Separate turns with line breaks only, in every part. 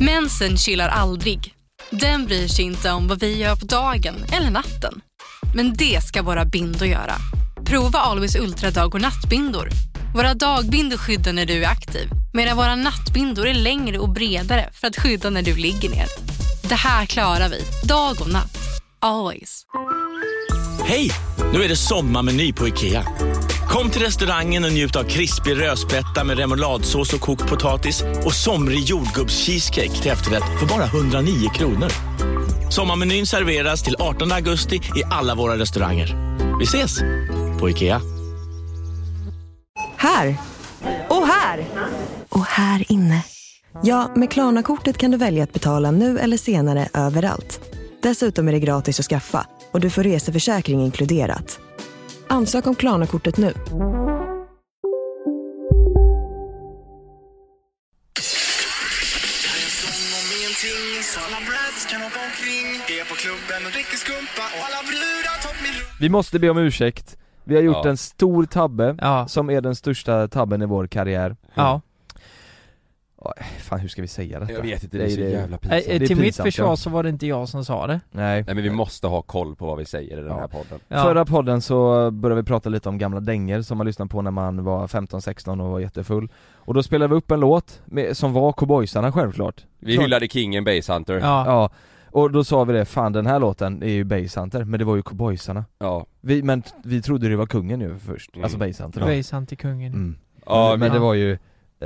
Mensen chillar aldrig. Den bryr sig inte om vad vi gör på dagen eller natten. Men det ska våra bindor göra. Prova Always Ultra dag och nattbindor. Våra dagbindor skyddar när du är aktiv medan våra nattbindor är längre och bredare för att skydda när du ligger ner. Det här klarar vi, dag och natt. Always.
Hej! Nu är det sommarmeny på IKEA. Kom till restaurangen och njut av krispig rödspätta med remouladsås och kokt potatis och somrig jordgubbscheesecake till efterrätt för bara 109 kronor. Sommarmenyn serveras till 18 augusti i alla våra restauranger. Vi ses! På IKEA.
Här! Och här! Och här inne. Ja, med Klarna-kortet kan du välja att betala nu eller senare överallt. Dessutom är det gratis att skaffa och du får reseförsäkring inkluderat. Ansök om Klarna-kortet nu.
Vi måste be om ursäkt, vi har gjort
Ja.
en stor tabbe
Ja.
som är den största tabben i vår karriär
Ja.
Fan hur ska vi säga detta?
Jag vet inte, det
Nej,
är så
det-
jävla
Eh,
pinsamt.
eh,
Det är
till mitt
pinsamt,
försvar
ja.
så var det inte jag som sa det.
Nej
Nej men vi måste ha koll på vad vi säger i den här podden.
Ja.
Förra podden så började vi prata lite om gamla dänger som man lyssnade på när man var 15-16 och var jättefull Och då spelade vi upp en låt med, som var cowboysarna självklart
Vi
Klart.
hyllade kingen Basehunter. Ja.
ja.
Ja, och då sa vi det, fan den här låten är ju Basehunter, men det var ju cowboysarna
Ja.
vi, Men t- vi trodde det var kungen ju först,
Mm.
alltså Basehunter
ja. Böjsan till kungen.
Mm.
ja.
men, men
vi-
det var ju eh,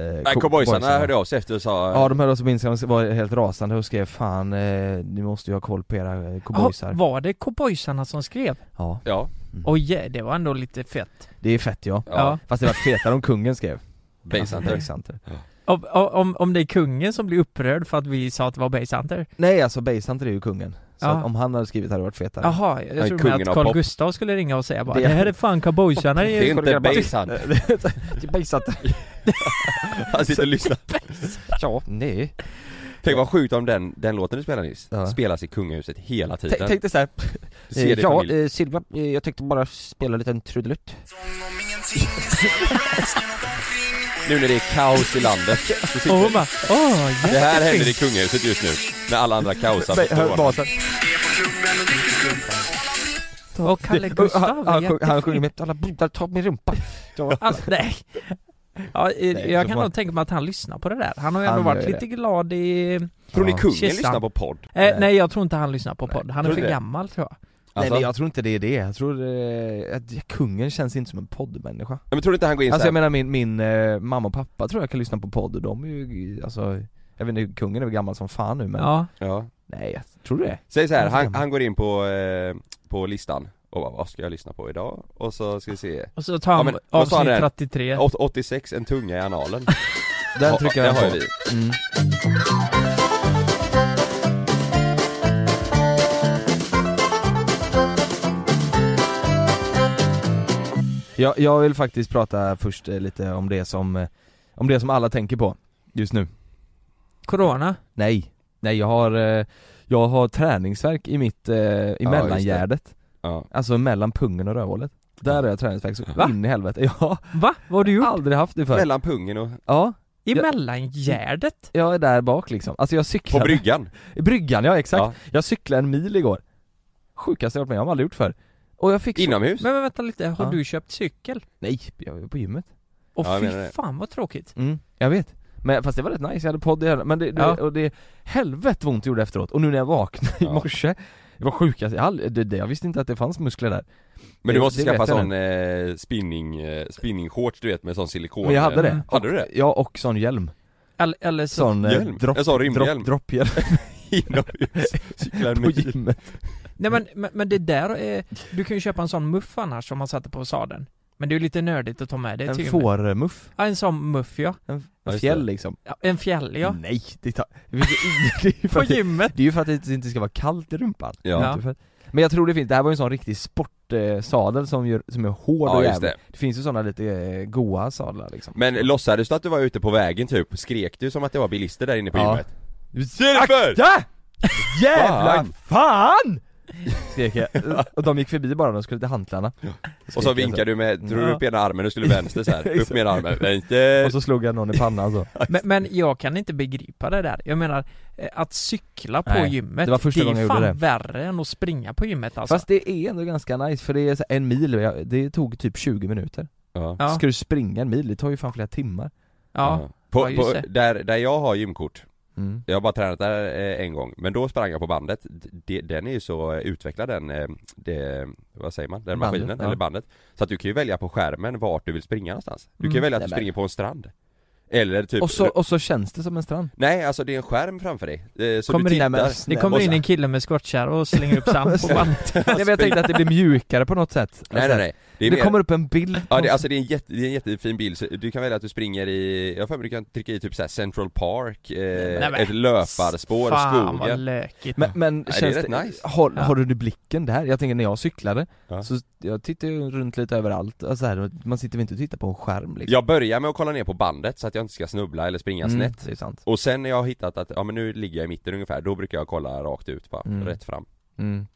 Nej,
co-
cowboysarna hörde av sig efter och sa...
Ja de hörde oss på Instagram och var helt rasande och skrev 'Fan, eh, ni måste ju ha koll på era eh,
Jaha,
cowboysar'
var det cowboysarna som skrev?
Ja,
ja.
Oj, det var ändå lite fett.
det är fett ja
ja.
Ja.
Fast det var fetare om kungen skrev
Basehunter.
Basehunter
Om, om, om det är kungen som blir upprörd för att vi sa att det var Basehunter?
Nej alltså Basehunter är ju kungen Så
Ja.
att om han hade skrivit hade det varit fetare
Jaha, jag
Nej,
trodde
kungen
med
av
att Carl
pop.
Gustaf skulle ringa och säga bara
Det
Det,
är-
här är fan cowboysarna
Det är
ju
inte Basehunter.
Det är Basehunter
Han sitter och lyssnar.
Ja, nej
Tänk vad sjukt om den, den låten du spelade nyss,
Ja.
spelas i kungahuset hela
Tänk-
tiden.
Tänk dig Eh, såhär,
Ser det i familj.
Silva, eh, jag tänkte bara spela en liten trudelutt
Nu när det är kaos i landet. så sitter-
Och
Oh
hon bara, åh,
Det här
jättefint."
händer i kungahuset just nu, när alla andra kaosar på
Hör
corona.
basen
Och Kalle Gustav
Han- han
är
sjung- Han sjunger
jättefin.
med alla brudar tar min rumpa
Alltså?
Han- Ah, Nej. Ja, eh,
Nej,
jag
så
kan
får-
nog tänka mig att han lyssnar på det där. Han har ju ändå
Han
varit
gör
lite glad i...
Tror ni
Ja.
kungen
Kissan.
lyssnar på podd?
Eh, nej, jag tror inte han lyssnar på podd. Han är
Tror
för
du det?
gammal tror jag.
Nej
Alltså,
men
jag...
jag tror inte det är det, jag tror eh, att kungen känns inte som en poddmänniska
men tror du inte han går in
Alltså
såhär?
jag menar min, min eh, mamma och pappa tror jag kan lyssna på podd och de är ju, alltså jag vet inte, kungen är väl gammal som fan nu men
Ja.
Ja.
Nej, jag tror du det?
Säg så här,
Varför
han,
gammal?
han går in på, eh, på listan och bara, vad ska jag lyssna på idag? Och så ska vi se,
Och så tar han
Ja, men vad sa han
avsnitt
där?
33.
Åt- 86, en tunga i analen.
Den
Ja,
trycker
det
jag
har
på
ju vi.
mm. jag, jag vill faktiskt prata först eh, lite om det som, eh, om det som alla tänker på just nu
Corona.
Nej, nej jag har, eh, jag har träningsverk i mitt, eh, i
Ja,
mellangärdet
Ja.
Alltså mellan pungen och rövhålet Där har jag träningsverk så
Va?
in i helvete, ja,
Va? Vad har du gjort?
aldrig haft det förr
Mellan pungen och,
Ja,
I
Ja.
mellangärdet?
jag är där bak liksom, alltså jag
på
cyklade
bryggan.
I Bryggan, ja exakt.
Ja.
Jag cyklade en mil igår. Sjukaste jag varit med om, har aldrig gjort förr. Och jag fick så-
Inomhus.
Men, men vänta lite, har
Ja.
du köpt cykel?
Nej, jag var på gymmet.
Och
Ja, jag menar
fy
det.
fan vad tråkigt.
Mm, jag vet. Men fast det var rätt nice, jag hade podd i öronen. Men det, det,
Ja.
och det, helvete vad ont det gjorde efteråt. Och nu när jag vaknade i
Ja.
morse, det var sjukast, jag, aldrig, det, det, jag visste inte att det fanns muskler där.
Men du
Det-
måste
det
skaffa
vet jag
sån eh, spinning, eh, spinningshorts du vet med sån silikon
Men jag hade det.
Mm.
Hade du det?
Ja, och sån hjälm.
Eller, eller så...
Sån eh,
Hjälm?
dropp,
En sån rymdhjälm?
dropp, dropphjälm
Inomhus, cykla en
på
mil.
gymmet.
Nej men, men, men det där är... Du kan ju köpa en sån muff annars som man satte på sadeln. Men det är ju lite nördigt att ta med det
En
till gymmet.
fårmuff.
Ja, en sån muff ja.
En,
Ja,
en
just det.
fjäll liksom.
ja en fjäll ja.
Mm.
Nej, det, tar, det, finns ju- det är ju för
På
att det,
gymmet.
det är ju för att det inte ska vara kallt i rumpan.
Ja.
Inte för- Men jag tror det finns, det här var ju en sån riktig sportsadel som, gör, som är hård
ja,
och
just
jävlig
det.
det. finns ju såna lite eh, goa sadlar liksom
Men låtsades du att du var ute på vägen typ? Skrek du som att det var bilister där inne på
Ja.
gymmet? Ser du för?
Akta! Jävla
Fan!
fan! skrek jag. Och de gick förbi bara, de skulle till hantlarna
Och så vinkar du med, drog upp ena armen, du skulle vänster så här. upp med ena armen,
Och
vänster!
så slog jag någon i pannan så
Men, men jag kan inte begripa det där. Jag menar, eh, att cykla på
Nej,
gymmet,
det var första
det är
gången jag
fan
gjorde det.
värre än att springa på gymmet alltså.
Fast det är ändå ganska nice, för det är så här en mil, jag- det tog typ 20 minuter
Ja.
ja,
Ska du springa en mil? Det tar ju fan flera timmar
ja.
På,
Ja, just
på,
det.
där, där jag har gymkort,
mm.
jag har bara tränat där eh, en gång, men då sprang jag på bandet. D- Den är ju så eh, utvecklad den, eh, det, vad säger man, den
Bandet,
maskinen,
ja.
eller bandet. Så att du kan ju välja på skärmen vart du vill springa någonstans. Du kan ju
Mm.
välja att du
Nämen.
springer på en strand. Eller typ,
och, så, och så känns det som en strand
nej alltså det är en skärm framför dig. eh, Så
Kommer
du
in där
tittar.
med-
Det
Nej,
kommer
och
in
så-
en kille med skottkärra och slänger upp sand på bandet.
Nej, men Jag tänkte att det blir mjukare på något sätt Alltså,
Nej nej nej. Det, är
Det
mer-
kommer upp en bild
Ja det, alltså det är, en jätte, det är en jättefin bild, så du kan välja att du springer i, jag har för mig du kan trycka i typ såhär Central Park, eh,
Nej, men-
ett löparspår,
Fan vad
skogen
lökigt.
Men, men
det är
känns
rätt
det,
nice.
har,
Ja.
har du blicken där? Jag tänker när jag cyklade,
Ja.
så jag tittade ju runt lite överallt, alltså här, man sitter väl inte och tittar på en skärm liksom
Jag börjar med att kolla ner på bandet så att jag inte ska snubbla eller springa
Mm,
snett
det är sant
Och sen när jag har hittat att, ja men nu ligger jag i mitten ungefär, då brukar jag kolla rakt ut bara,
Mm.
rätt fram
mm.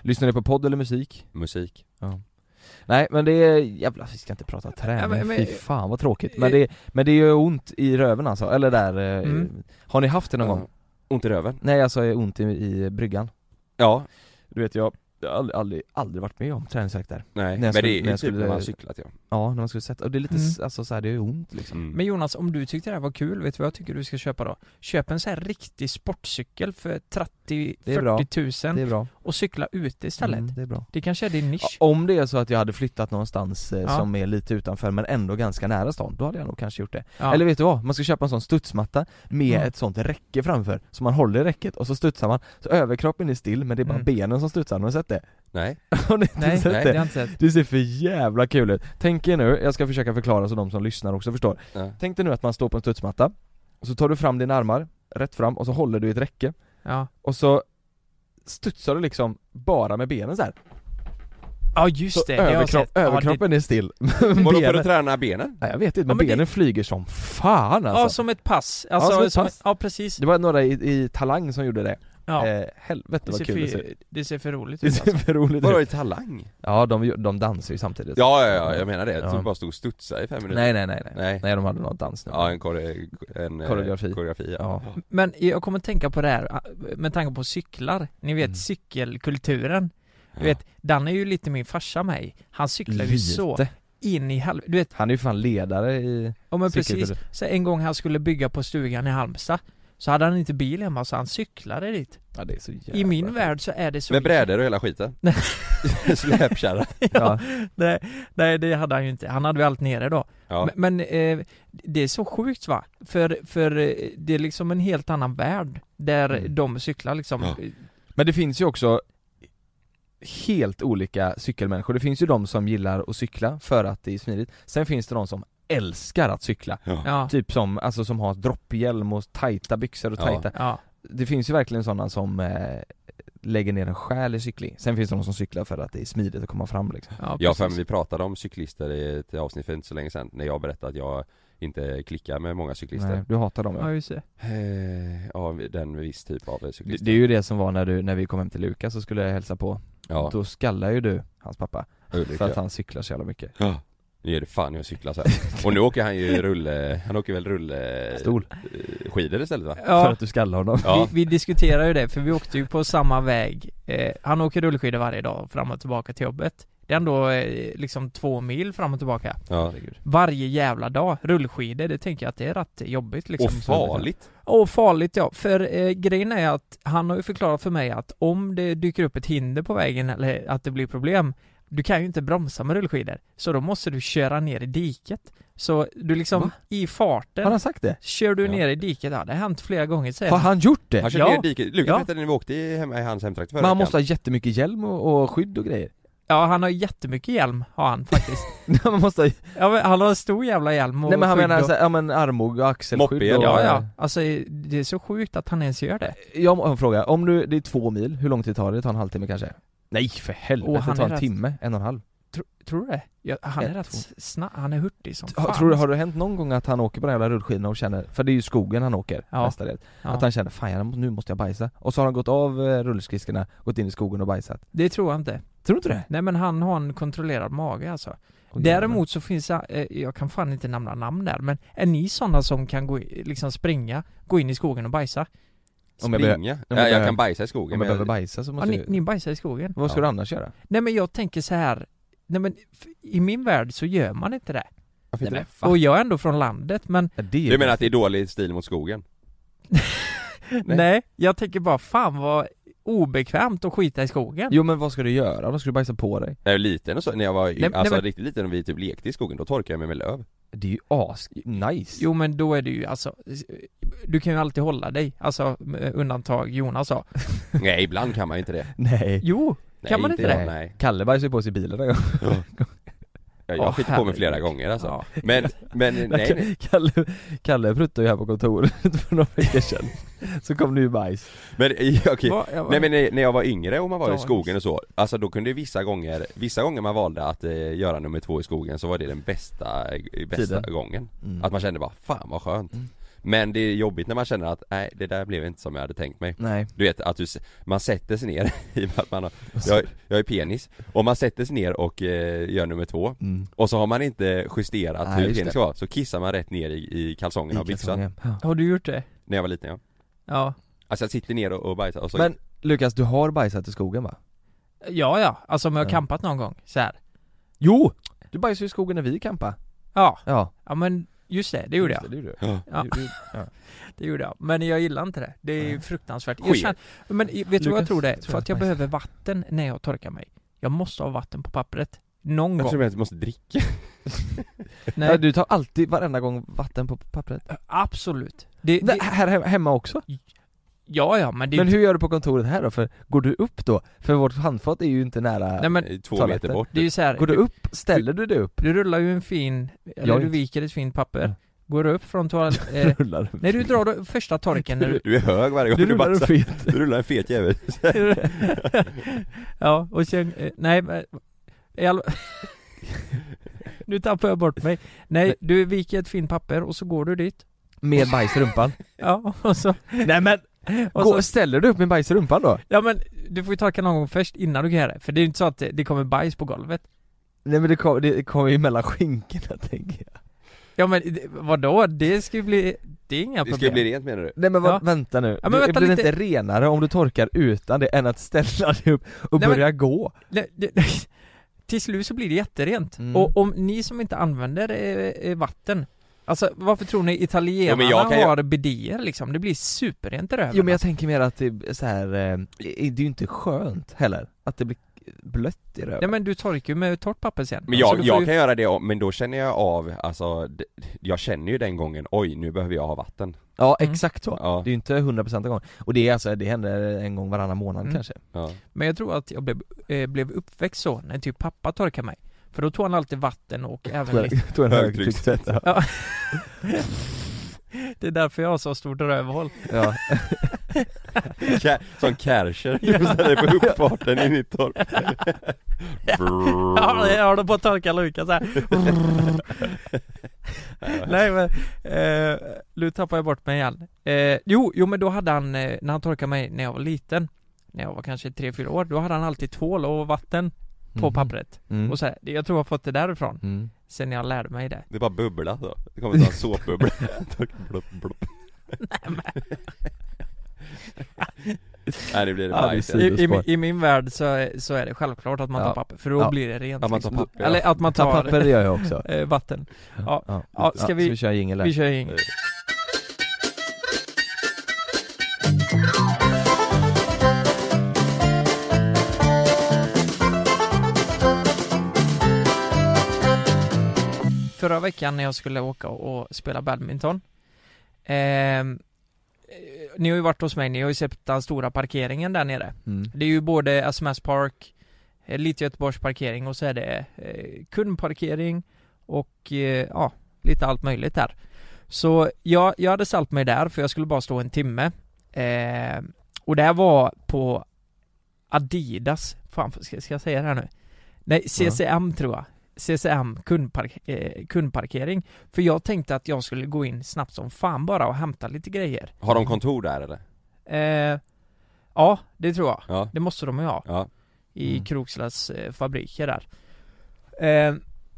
Lyssnar du på podd eller musik?
Musik
Nej men det är, jävlar vi ska inte prata träning,
Ja, men- men- Eh,
fy fan vad tråkigt Men det, men det gör ont i röven alltså, eller där, eh,
Mm.
har ni haft det någon
Ja.
gång?
Ont i röven?
Nej alltså eh, ont i, i bryggan
Ja,
Du vet jag, jag har aldrig, aldrig, aldrig varit med om träningsvärk där
nej,
När jag
men
skulle-
det är
när
ju
jag
typ
skulle-
när man har cyklat ja
Ja, när man skulle sätta, och det är lite,
Mm.
s- alltså så här, det gör ont liksom
mm.
Men Jonas, om du tyckte det här var kul, vet du vad jag tycker du ska köpa då? Köp en sån här riktig sportcykel för
Det är bra.
30-40
Det
000
är bra,
och cykla ute istället.
mm, det är bra
Det kanske är din nisch.
Ja, Om det är så att jag hade flyttat någonstans eh,
Ja.
som är lite utanför men ändå ganska nära stan, då hade jag nog kanske gjort det.
Ja.
Eller vet du vad? Man ska köpa en sån studsmatta med
Mm.
ett sånt räcke framför, så man håller i räcket och så studsar man, så överkroppen är still men det är bara
Mm.
benen som studsar, har ni sett det?
Nej,
Har ni inte
Nej,
sett
nej, det har
det?
jag inte sett.
Det ser för jävla kul ut. Tänk er nu, jag ska försöka förklara så de som lyssnar också förstår.
Ja.
Tänk dig nu att man står på en studsmatta, och så tar du fram dina armar, rätt fram, och så håller du i ett räcke,
Ja,
och så studsar du liksom bara med benen så här.
ja just
Så
det. det har jag
överkro-
sett.
överkroppen är still, men
vadå för att
benen
träna benen?
Nej jag vet inte, men,
Ja, men
benen
det-
flyger som fan
Ja,
alltså.
som ett pass. Alltså,
som
som
ett pass.
ja precis.
Det var några i, i Talang som gjorde det.
Ja.
Eh, helvete
det,
vad
ser
kul det ser
för,
ut.
det ser för roligt
Det
ut
ser
alltså.
för roligt
Vadå
ut.
i talang?
Ja, de, gör- de dansar ju samtidigt.
Ja, ja, ja, jag menar det,
Ja.
du bara stod och studsade i fem minuter
Nej, nej, nej, nej.
Nej.
Nej, de hade någon dans nu.
Ja, en, kore, en eh,
Koreografi.
koreografi ja.
Ja.
Men jag kommer tänka på det här eh, med tanke på cyklar. Ni vet
Mm.
cykelkulturen. Du
Ja.
vet, Dan är ju lite min farsa med i. Han cyklar ju så
Lite.
in i halv... Du vet,
Han är ju fan ledare i...
ja men precis.
cykelkultur.
Så en gång han skulle bygga på stugan i Halmstad så hade han inte bil hemma så han cyklade dit.
Ja, det är så jävla
I min
skönt.
värld så är det så...
Med brädor och hela skiten?
Nej.
Släpkärra
Ja.
nej, nej, det hade han ju inte. Han hade ju allt nere då.
Ja,
Men, men eh, det är så sjukt va? För, för eh, det är liksom en helt annan värld där
Mm.
de cyklar liksom.
Ja.
Men det finns ju också helt olika cykelmänniskor. Det finns ju de som gillar att cykla för att det är smidigt. Sen finns det de som älskar att cykla.
ja.
Ja,
Typ som, alltså som har dropphjälm och tajta byxor och
Ja.
tajta
ja,
Det finns ju verkligen sådana som eh, lägger ner en själ i cykling. Sen finns det de som cyklar för att det är smidigt att komma fram liksom.
ja,
Ja för
precis.
vi pratade om cyklister i ett avsnitt för inte så länge sedan när jag berättade att jag inte klickar med många
Nej,
cyklister
du hatar dem
Ja,
ja.
just det.
Eh, Ja, den viss typ av
Det,
cyklister
det är ju det som var när du, när vi kom hem till Lukas och skulle hälsa på.
Ja,
Då skallar ju du hans pappa
Ulrik
för att
ja.
han cyklar så jävla mycket.
ja Nu är det fan jag cyklar så här. Och nu åker han ju rulle, han åker väl rulle
Stol.
eh, Skidor istället va?
För
Ja,
att du skallar honom.
Ja,
vi, vi diskuterar ju det för vi åkte ju på samma väg. Eh, han åker rullskidor varje dag fram och tillbaka till jobbet. Det är ändå eh, liksom två mil fram och tillbaka.
ja.
Herregud.
Varje jävla dag. Rullskidor, det tänker jag att det är rätt jobbigt liksom.
Och farligt!
Och farligt ja, för eh, grejen är att han har ju förklarat för mig att om det dyker upp ett hinder på vägen eller att det blir problem Du kan ju inte bromsa med rullskidor, så då måste du köra ner i diket Så du liksom,
Va?
i
Har
farten,
han sagt det?
kör du
Ja.
ner i diket, ja, det har hänt flera gånger säger
Har
han
han gjort det?
Han körde
Ja.
ner i diket, Lukas
Ja.
berättade när vi åkte i, hemma i hans hemtrakt förra
Men han
veckan.
måste ha jättemycket hjälm och, och skydd och grejer.
Ja han har jättemycket hjälm, har han faktiskt
Nej, man måste ha,
ja, men Han har en stor jävla hjälm och
nej men han
skydd
menar
och...
såhär, ja men armbåge och axelskydd
Moped.
och,
Ja ja, alltså det är så sjukt att han ens gör det
Jag har en fråga, om du, det är två mil, hur lång tid tar det? Det tar en halvtimme kanske? Nej för helvete,
Åh, han
det tar
är
en
rätt-
timme, en och en halv
Tro, tror du det? Ja, han är
Ett,
rätt snabb, han är hurtig som
Har-
fan. alltså.
Tror du, har det hänt någon gång att han åker på den jävla rullskidorna och känner, för det är ju skogen han åker
Ja.
mestadels,
Ja.
att han känner 'Fan jag, nu måste jag bajsa' och så har han gått av eh, rullskidskorna, gått in i skogen och bajsat
Det tror jag inte.
Tror du inte det?
Nej men han har en kontrollerad mage alltså.
Åh,
Däremot så finns det, eh, jag kan fan inte nämna namn där, men är ni sådana som kan gå, i- liksom springa, gå in i skogen och bajsa?
Om jag
Springa?
behöver-
jag,
jag
jag
behöver-
kan bajsa i
jävlar.
skogen
Om jag
men
behöver
jag,
bajsa så
Ja,
måste
ni,
jag
ni bajsar i skogen?
Vad ska
Ja.
du annars göra?
Nej men jag tänker så här. nej men f- i min värld så gör man inte det.
varför inte
Nej,
det?
men fan.
Och jag är ändå från landet men
Ja, det är ju-
Du menar att det är dålig stil mot skogen?
nej. jag tänker bara fan vad obekvämt att skita i skogen.
Jo men vad ska du göra? Vad ska du bajsa på dig?
När jag var liten och så, när jag var
Nej, nej,
alltså
men-
riktigt liten och vi typ lekte i skogen, då torkade jag mig med löv
Det är ju as nice
Jo men då är det ju alltså, du kan ju alltid hålla dig, alltså med undantag Jonas sa.
Nej ibland kan man ju inte det
Nej
Jo!
Nej,
Kan man inte
jag,
det?
Nej,
Kalle bajsade på sig i bilen en gång.
jag, jag
Åh,
skiter på mig flera
herregud.
gånger alltså
Ja.
Men, men nej, nej,
Kalle, Kalle pruttade ju här på kontoret för några veckor sedan Så kom det ju bajs
men okej
Vad- jag-
Nej men när- när jag var yngre och man var i
Dagens.
skogen och så, alltså då kunde ju vissa gånger, vissa gånger man valde att eh, göra nummer två i skogen så var det den bästa, eh, bästa
Tiden.
gången.
Mm.
Att man kände bara, fan vad skönt.
Mm.
Men det är jobbigt när man känner att, nej det där blev inte som jag hade tänkt mig.
Nej
Du vet att du, s- man sätter sig ner, i och med att man har, jag, jag är penis, och man sätter sig ner och eh, gör nummer två
mm.
och så har man inte justerat
Nej,
hur
just
penis
det.
ska vara, så kissar man rätt ner i, i kalsongerna
I
och byxan
kalsongen. Ja.
Har du gjort det?
när jag var liten ja.
Ja.
Alltså jag sitter ner och, och bajsar och så
Men Lukas, du har bajsat i skogen va?
Ja ja, alltså om jag har
Ja.
campat någon gång så här.
Jo! Du bajsade i skogen när vi kampade
Ja,
Ja,
ja men just det, det gjorde jag.
Just Det, det gjorde du.
Ja.
Ja.
Du- du-
Det gjorde jag, men jag gillar inte det. Det är ju
Nej.
fruktansvärt. Jag
Sker.
känner, men i- vet du vad jag
Lukas,
tror det är?
tror
För
jag
att jag
bajsar.
behöver vatten när jag torkar mig. Jag måste ha vatten på pappret. Någon
jag
gång.
tror att jag måste dricka.
Nej.
Nej,
du tar alltid, varenda gång, vatten på pappret
absolut. Det,
Nej,
det,
Här he- hemma också?
ja, ja, men det...
Men hur gör du på kontoret här då? För går du upp då? För vårt handfat är ju inte nära
nej, men
Två
toaletten.
meter bort.
det är ju så här,
Går du
du,
upp? Ställer du dig upp?
du rullar ju en fin, eller
Jag
du
inte.
viker ett fint papper,
Mm.
går upp från toaletten... Eh,
Rullar du?
när du drar då första torken när du...
Du är hög varje gång
Du
du,
rullar en
bajsar.
fet
Du rullar en fet jävel.
ja, och sen, eh, nej men... i alla- nu tappar jag bort mig. Nej,
Nej.
du viker ett fint papper och så går du dit.
Med bajs i rumpan?
Ja, och så...
Nej men!
Och
Gå,
så,
ställer du upp med bajs i rumpan då?
ja men du får ju torka någon gång först innan du kan göra det, för det är ju inte så att det, det kommer bajs på golvet
Nej men det kommer det kom ju mellan skinkorna tänker jag
Ja men det- vadå? Det ska ju bli, det är inga
Det ska ju
problem
bli rent menar du?
Nej men vad,
Ja.
vänta nu,
Ja, men
Du-
vänta
blir
lite.
det inte renare om du torkar utan det än att ställa dig upp och
Nej, men-
börja gå?
Nej, det, Till slut så blir det jätterent,
Mm.
och om ni som inte använder eh, eh, vatten Alltså varför tror ni italienarna
Jo, men jag kan ju-
har bidéer liksom? Det blir superrent i röven
Jo men jag tänker mer att det är så här, eh, det är ju inte skönt heller, att det blir blött i röven
Nej men du torkar ju med torrt papper sen
Men
Alltså, du
jag,
får
jag
ju-
kan göra det om- men då känner jag av, alltså, d- jag känner ju den gången, oj nu behöver jag ha vatten.
Ja
Mm.
exakt så,
Ja.
det är ju inte 100% en gång Och det är alltså, det händer en gång varannan månad
Mm.
kanske
Ja.
Men jag tror att jag blev, eh, blev uppväxt så, när typ pappa torkade mig För då tog han alltid vatten och även lite
Tog en
Högtryckstvätt.
högtryckstvätt ja.
Ja. Det är därför jag har så stort rövhål.
ja,
Kä- Som Kärcher, du får ställa dig på uppfarten i ditt torp.
Jag håller- jag håller på att torka Lukas här. Nej men, eh, nu tappar jag bort mig igen. Eh, jo, jo men då hade han, eh, när han torkade mig när jag var liten, när jag var kanske 3-4 år, då hade han alltid tvål och vatten på
Mm.
pappret.
mm.
Och så här, det- jag tror jag har fått det därifrån,
Mm.
sen jag lärde mig det.
Det är bara bubbla så. Det kommer att ta en såpbubbla. Tork, blopp, blopp. Nej det blir
Ja, det är
bajs.
synd.
I, i,
Sidospår.
min- I min värld så är, så är det självklart att man
Ja.
tar papper, för då
Ja.
blir det rent.
Att man tar
liksom.
papper, ja.
Eller att man
Ta
tar
papper gör jag också
eh, vatten. Ja. Ja, ska vi-
så vi kör jingel
Vi
här?
kör ingen. Förra veckan när jag skulle åka och spela badminton ehm, eh, Ni har ju varit hos mig, ni har ju sett den stora parkeringen där nere
Mm.
Det är ju både SMS Park, eh, lite Göteborgs parkering och så är det eh, kundparkering och eh, ja, lite allt möjligt där. Så jag, jag hade ställt mig där för jag skulle bara stå en timme. Eh, och det här var på Adidas, fan ska, ska jag säga det här nu? Nej, CCM tror jag. CCM, kundpark, eh, kundparkering. För jag tänkte att jag skulle gå in snabbt som fan bara och hämta lite grejer.
Har de kontor där eller?
Eh, ja, det tror jag.
Ja,
Det måste de ju ha.
ja,
i
Mm.
Krokslas eh, fabriker där. Eh,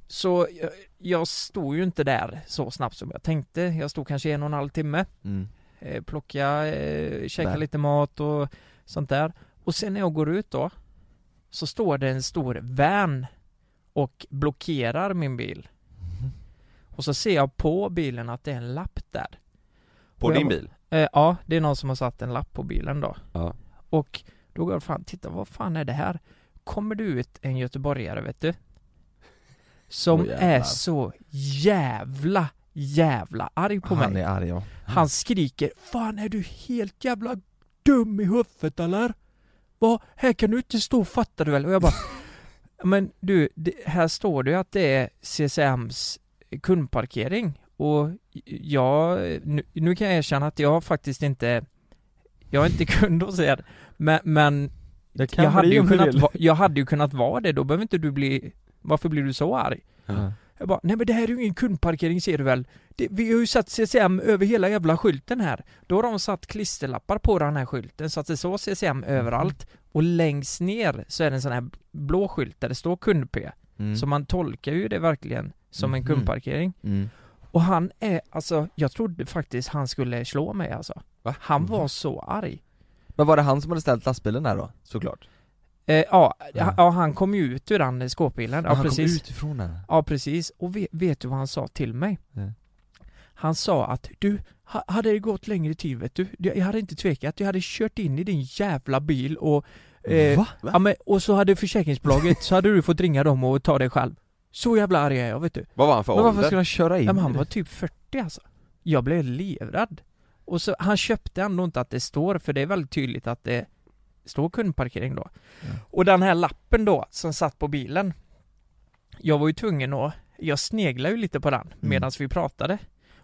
så jag, jag stod ju inte där så snabbt som jag tänkte. Jag stod kanske en och en halv timme,
Mm.
eh, plocka, eh, käka
Där.
lite mat och sånt där. Och sen när jag går ut då, så står det en stor van och blockerar min bil. Och så ser jag på bilen att det är en lapp där.
På
Och jag
din
ba-
bil?
Eh, ja, det är någon som har satt en lapp på bilen då.
Ja.
Och då går jag fram, titta vad fan är det här? Kommer du ut en göteborgare vet du? Som
Åh, jävlar.
är så jävla, jävla arg på
Han
mig.
är arg ja.
Han skriker 'Fan är du helt jävla dum i huvudet eller? Va? Här kan du inte stå fattar du väl?' Och jag bara Men du, det, här står det ju att det är CSMs kundparkering och jag, nu, nu kan jag erkänna att jag faktiskt inte Jag är inte kund hos er men, men
Det kan
jag, hade
bli
ju
om du
kunnat
vill.
va, jag hade ju kunnat vara det, då behöver inte du bli Varför blir du så arg?
Ja.
Jag bara, nej men det här är ju ingen kundparkering ser du väl? Det, vi har ju satt CCM över hela jävla skylten här. Då har de satt klisterlappar på den här skylten så att det står CCM
Mhm.
överallt. Och längst ner så är det en sån här blå skylt där det står kund-P.
Mm.
Så man tolkar ju det verkligen som en
Mhm.
kundparkering.
Mm.
Och han är, alltså jag trodde faktiskt han skulle slå mig alltså.
Va?
Han
Mhm.
var så arg.
Men var det han som hade ställt lastbilen där då? Såklart.
Eh, ja,
Ja.
ja, han kom ju ut ur den skåpbilen. Ja,
han
precis.
kom utifrån den.
Ja precis, och vet, vet du vad han sa till mig?
Nej.
Han sa att du, ha- hade det gått längre tid vet du, jag hade inte tvekat, jag hade kört in i din jävla bil och... eh,
Va?
Ja, men, och så hade försäkringsbolaget, så hade du fått ringa dem och ta dig själv. Så jävla arg är jag vet du.
Vad var han för
Men varför
ålder?
skulle han köra in?
Ja, men han var typ 40 alltså. Jag blev livrädd. Och så, han köpte ändå inte att det står, för det är väldigt tydligt att det står kundparkering då. Och den här lappen då, som satt på bilen. Jag var ju tvungen att, jag sneglade ju lite på den medan vi pratade.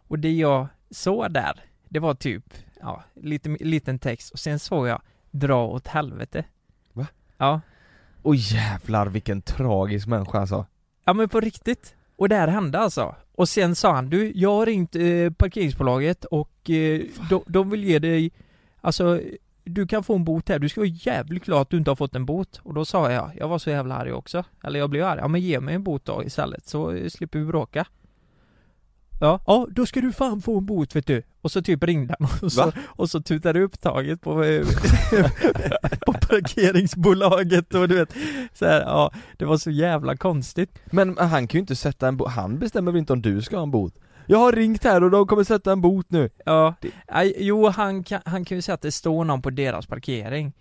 Och det jag såg där, det var typ, ja, lite, liten text och sen såg jag Dra åt helvete.
Va?
Ja.
Åh jävlar vilken tragisk människa alltså.
Ja men på riktigt. Och det här hände alltså. Och sen sa han du, jag har ringt eh, parkeringsbolaget och eh, de, de vill ge dig, alltså du kan få en bot här, du ska vara jävligt glad att du inte har fått en bot. Och då sa jag, jag var så jävla arg också. Eller jag blev arg, ja men ge mig en bot då istället så eh, slipper vi bråka. Ja, ja då ska du fan få en bot vet du. Och så typ ringde han och så,
Va?
och så tutade upp taget på, eh, på parkeringsbolaget och du vet så här, ja det var så jävla konstigt.
Men han kan ju inte sätta en bot, han bestämmer väl inte om du ska ha en bot? Jag har ringt här och de kommer sätta en bot nu.
Ja, Nej, jo han kan, han kan ju säga att det står någon på deras parkering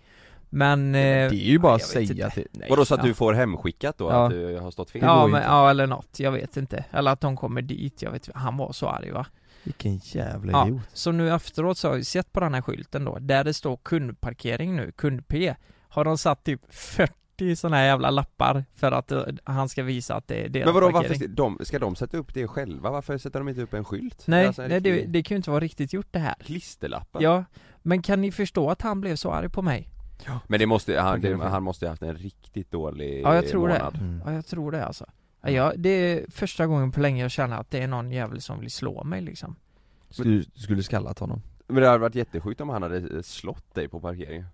Men... eh,
det är ju bara
jag
att
vet
säga
inte.
till... Nej.
Vadå så att
Ja.
du får hemskickat då?
Ja.
Att du har stått fel?
Det går
Ja
ju
men,
inte.
ja eller något, jag vet inte. Eller att de kommer dit, jag vet Han var så arg va?
Vilken jävla
Ja.
idiot.
Så nu efteråt så har jag ju sett på den här skylten då, där det står kundparkering nu, kund-P Har de satt typ 40 sådana här jävla lappar för att eh, han ska visa att det är deras
Men vadå,
parkering
varför, de, ska de sätta upp det själva? Varför sätter de inte upp en skylt?
Nej,
Alltså en
nej det,
riktig
det kan ju inte vara riktigt gjort det här
Klisterlappar?
Ja, men kan ni förstå att han blev så arg på mig?
Men det måste, han,
Okej,
det,
okej.
han måste ju haft en riktigt dålig
Ja, jag tror det.
månad.
Mm.
Ja, jag tror det alltså. Ja, jag, det är första gången på länge jag känner att det är någon jävel som vill slå mig liksom.
Skulle, skulle skallat honom.
Men det hade varit jättesjukt om han hade eh, slått dig på parkeringen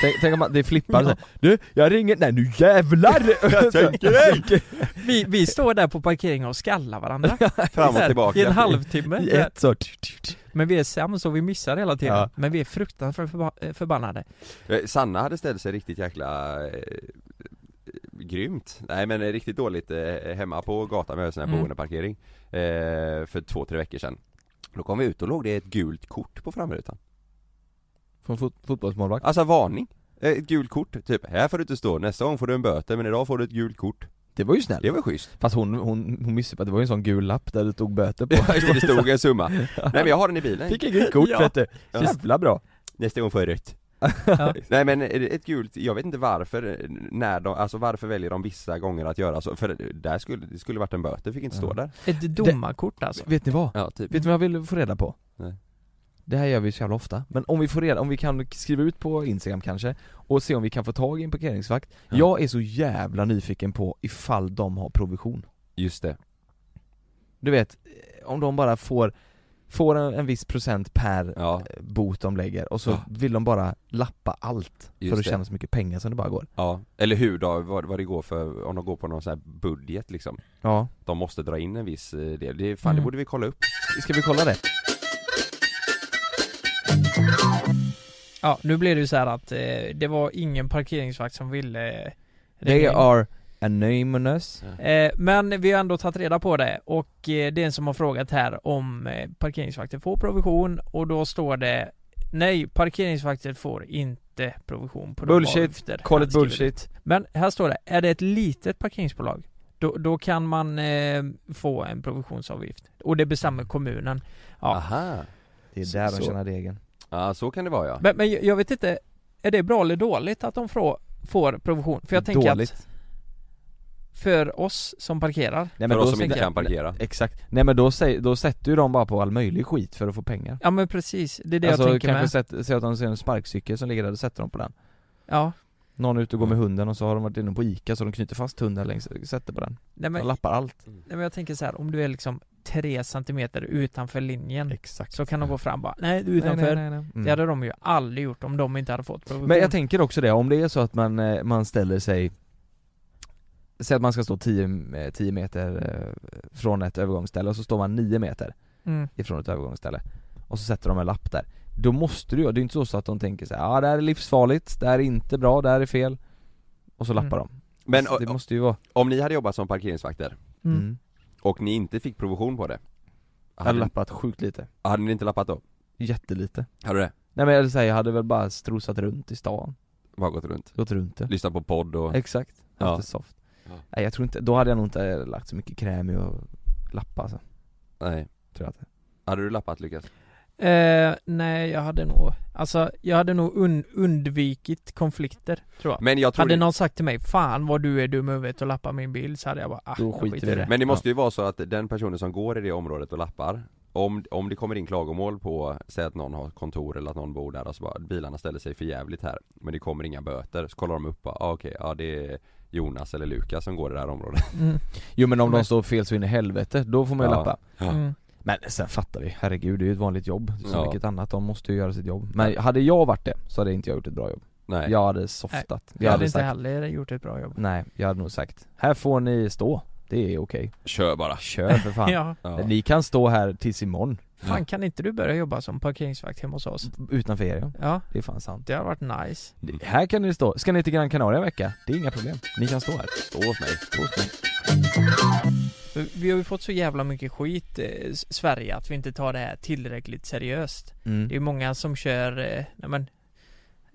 Tänk, tänk om man, det flippar så. Du, jag ringer, nej nu jävlar! jag
Vi, vi står där på parkeringen och skallar varandra.
Fram och
I en
tillbaka
halvtimme.
I ett så.
Men vi är sämst och vi missar hela tiden.
Ja.
Men vi är fruktansvärt förba- förbannade.
Eh, Sanna hade ställt sig riktigt jäkla eh, eh, Grymt! Nej men eh, riktigt dåligt eh, hemma på gatan, vi har en sån här
Mm.
boendeparkering eh, För två, tre veckor sedan Då kom vi ut och låg det ett gult kort på framrutan
Från fot, fotbollsmålvakt.
Alltså varning! Eh, Ett gult kort, typ här får du inte stå, nästa gång får du en böter men idag får du ett gult kort
Det var ju snällt.
Det var schysst!
Fast hon, hon, hon missade på att det var ju en sån gul lapp där du tog böter på.
det stod en summa Nej men jag har den i bilen
Fick inget kort
Ja.
vet du.
Ja.
Jävla bra.
Nästa gång får jag rött
Ja.
Nej men ett gult, jag vet inte varför, eh, när de, alltså varför väljer de vissa gånger att göra så? För där skulle, det skulle varit en böter, fick inte stå
Ja.
där
Ett domarkort alltså.
Vet ni vad?
Ja typ
Vet ni vad jag vill få reda på?
Nej.
Det här gör vi så jävla ofta, men om vi får reda, om vi kan skriva ut på instagram kanske och se om vi kan få tag i en parkeringsvakt
Ja.
Jag är så jävla nyfiken på ifall de har provision
Just det.
Du vet, eh, om de bara får, får en, en viss procent per
Ja,
eh, bot de lägger och så
Ja.
vill de bara lappa allt
Just
för att
det.
tjäna så mycket pengar som det bara går
ja. Eller hur då, vad, vad det går för, om de går på någon sån här budget liksom.
Ja,
De måste dra in en viss eh, del. Det, fan, det
Mm.
borde vi kolla upp.
ska vi kolla det?
Ja, nu blev det ju så här att eh, det var ingen parkeringsvakt som ville eh,
They
ringa in.
are anonymous
Eh, Men vi har ändå tagit reda på det och eh, det är en som har frågat här om eh, parkeringsvakter får provision och då står det Nej, parkeringsvakter får inte provision på de
Bullshit.
avgifter han
Call it
skriver
bullshit
ut. Men här står det, är det ett litet parkeringsbolag då, då kan man eh, få en provisionsavgift och det bestämmer kommunen. Ja.
Aha.
Det är
Så-
där de
så.
tjänar degen
Ja, så kan det vara ja.
Men, men jag jag vet inte, är det bra eller dåligt att de frå, får provision? För jag tänker
Dåligt.
att för oss som parkerar
Nej,
för
då
oss som
tänker
inte
jag-
kan parkera.
Exakt, nej men då, säg- då sätter ju de bara på all möjlig skit för att få pengar
Ja men precis, det är det
Alltså
jag tänker
kanske
med.
sätt, säg att de ser en sparkcykel som ligger där, och sätter de på den
Ja.
Någon är ute och går med
Mm.
hunden och så har de varit inne på Ica så de knyter fast hunden längs, sätter på den,
Nej
de
men, nej
lappar allt
men jag tänker så här, om du är liksom tre centimeter utanför linjen
Exakt
så kan de gå fram bara, nej du är utanför.
Mm.
Det hade de ju aldrig gjort om de inte hade fått provision.
Men jag tänker också det, om det är så att man, eh, man ställer sig Säg att man ska stå 10, 10 meter eh, från ett övergångsställe och så står man 9 meter
mm.
ifrån ett övergångsställe Och så sätter de en lapp där Då måste du ju, det är ju inte så så att de tänker så här, ja ah, det här är livsfarligt, det här är inte bra, det här är fel Och så lappar de
Men
Så
o-
Alltså, Det måste ju vara
om ni hade jobbat som parkeringsvakter
Mm.
mm.
och ni inte fick provision på det.
Jag hade
Hade,
lappat sjukt lite,
hade ni inte lappat då?
jättelite
Hade du det?
Nej men jag säger, jag hade väl bara strosat runt i stan,
Bara gått runt.
gått runt det
Lyssnat på podd och...
Exakt, haft
Ja.
det soft
Ja.
Nej jag tror inte, då hade jag nog inte eh, lagt så mycket kräm i att lappa alltså,
Nej.
tror jag att
Hade du lappat Lukas?
eh, nej jag hade nog, alltså jag hade nog un- undvikit konflikter tror jag.
Men jag tror
hade
det,
någon sagt till mig 'Fan vad du är dum i huvudet och lappar min bil' så hade jag bara ah,
Då
jag
skiter vi i det.
Men det måste ju vara så att den personen som går i det området och lappar om, om det kommer in klagomål på, säg att någon har kontor eller att någon bor där och så bara bilarna ställer sig för jävligt här Men det kommer inga böter, så kollar de upp bara, ah, okej, ja det är Jonas eller Lukas som går i det här området
Mm.
Jo men om de
Men-
står fel så in i helvete, då får man ju
Ja.
lappa
Mm.
Men sen fattar vi, herregud det är ju ett vanligt jobb som
Ja.
vilket annat, de måste ju göra sitt jobb Men hade jag varit det så hade inte jag gjort ett bra jobb
Nej,
Jag hade softat,
Jag hade inte
sagt
heller gjort ett bra jobb.
Nej, jag hade nog sagt Här får ni stå, det är okej
kör bara
Kör för fan
Ja.
ja.
Ni kan stå här tills imorgon
Fan kan inte du börja jobba som parkeringsvakt hemma hos oss?
Utanför er ja,
Ja,
det är fan sant
det har varit nice.
Det- Här kan ni stå, ska ni till Gran Canaria en vecka? Det är inga problem, ni kan stå här
Stå hos mig
Stå hos mig.
För Vi har ju fått så jävla mycket skit eh, s- Sverige att vi inte tar det här tillräckligt seriöst. Det är
Mm.
ju många som kör, eh, nej men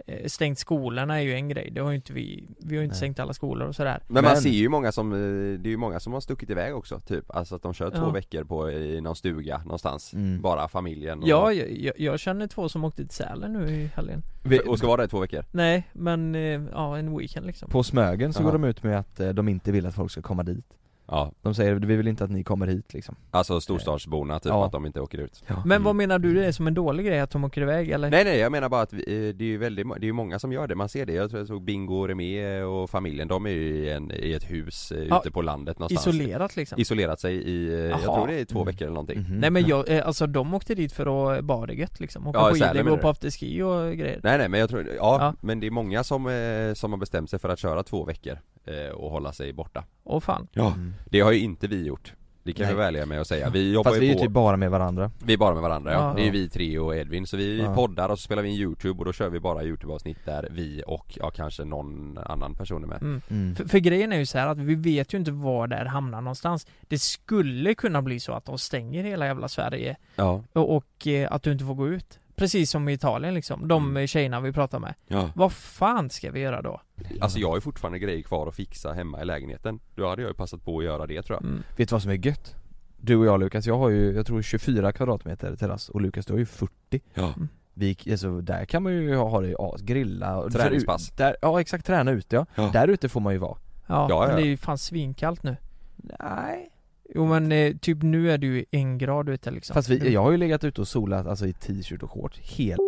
eh, Stängt skolorna är ju en grej, det har ju inte vi, vi har ju inte
Nej.
stängt alla skolor och sådär.
Men man
Men-
ser ju många som, eh, det är ju många som har stuckit iväg också typ Alltså att de kör två
Ja.
veckor på, i någon stuga någonstans
Mm.
Bara familjen och,
Ja, jag, jag, jag känner två som åkte till Sälen nu i helgen.
och ska vara där i två veckor
Nej, men eh, ja, en weekend liksom.
På Smögen så
Jaha.
går de ut med att eh, de inte vill att folk ska komma dit
Ja,
De säger vi vill inte att ni kommer hit liksom Mm.
alltså storstadsborna typ,
Ja.
att de inte åker ut
Men vad menar du det är som en dålig grej att de åker iväg eller?
Mm. Nej nej jag menar bara att vi, eh, det är ju väldigt, må- det är ju många som gör det, man ser det. Jag tror jag såg Bingo, Remé och familjen, de är ju i, en, i ett hus eh,
Ja,
ute på landet någonstans
Isolerat liksom?
Isolerat sig i, eh, jag
Jaha.
tror det är två
Mm.
veckor eller någonting
Mhm.
Nej men jag, eh, alltså de åkte dit för att bara det gött liksom, åka
Ja, i Sälen
skidor,
menar
gå
du?
på afterski och grejer
Nej nej men jag tror, ja,
Ja.
men det är många som, eh, som har bestämt sig för att köra två veckor eh, och hålla sig borta
Åh fan
Ja
Mm.
Det har ju inte vi gjort Det kan
Nej.
vi vara ärliga med att säga, vi jobbar
Fast vi
ju
är
på,
ju typ bara med varandra
vi är bara med varandra ja.
Ja.
det är ju vi tre och Edvin så vi
Ja.
poddar och så spelar vi in youtube och då kör vi bara youtube-avsnitt där vi och, ja kanske någon annan person är med
mm. för, för grejen är ju så här att vi vet ju inte var det här hamnar någonstans Det skulle kunna bli så att de stänger hela jävla Sverige
Ja,
och, och eh, att du inte får gå ut Precis som i Italien liksom, de
Mm.
mm. tjejerna vi pratar med
ja.
Vad fan ska vi göra då?
Alltså jag har ju fortfarande grejer kvar att fixa hemma i lägenheten Då hade jag ju passat på att göra det tror jag
Mm.
Vet du vad som är gött? Du och jag Lukas, jag har ju, jag tror 24 kvadratmeter terrass och Lukas du har ju 40
Ja
vi, alltså, där kan man ju ha ha det, ja, grilla och
Träningspass.
Där, ja exakt, träna ute ja.
Ja.
Där ute får man ju vara
Ja,
Ja, ja,
men det
ja.
är ju fan svinkallt nu
Nej
Jo men eh, typ nu är du en grad ute liksom
Fast vi, jag har ju legat ute och solat alltså i t-shirt och shorts hela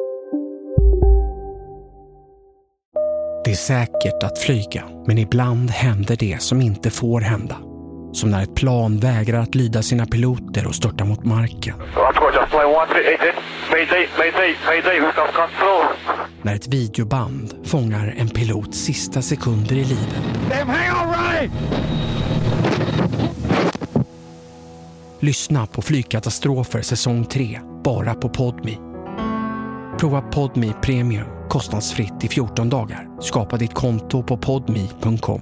Det är säkert att flyga, men ibland händer det som inte får hända. Som när ett plan vägrar att lyda sina piloter och störtar mot marken.
Roger, just play one, three, eight, eight. Mayday, mayday, mayday, we've got control.
När ett videoband fångar en pilots sista sekunder i livet. Lyssna på Flygkatastrofer säsong 3, bara på Podmi. Prova Podmi Premium kostnadsfritt i 14 dagar. Skapa ditt konto på podmi.com.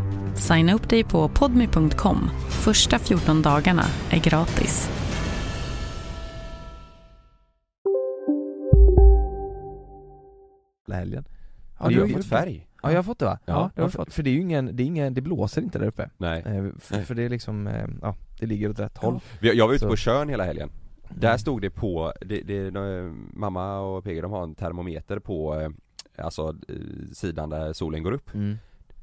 Signa upp dig på podmi.com. Första 14 dagarna är gratis.
helgen.
Ja,
du har
ju-
fått färg.
Ja jag har fått det va?
Ja,
det har jag
för,
fått.
för det är ju ingen, det är ingen, det blåser inte där uppe.
Nej.
Eh, För, för det är liksom, eh, ja det ligger åt rätt håll.
Vi- Jag var ute
Så- Mm.
på Tjörn hela helgen. Där stod det på, det, det, de- mamma och PG de har en termometer på eh, Alltså eh, sidan där solen går upp.
Mm.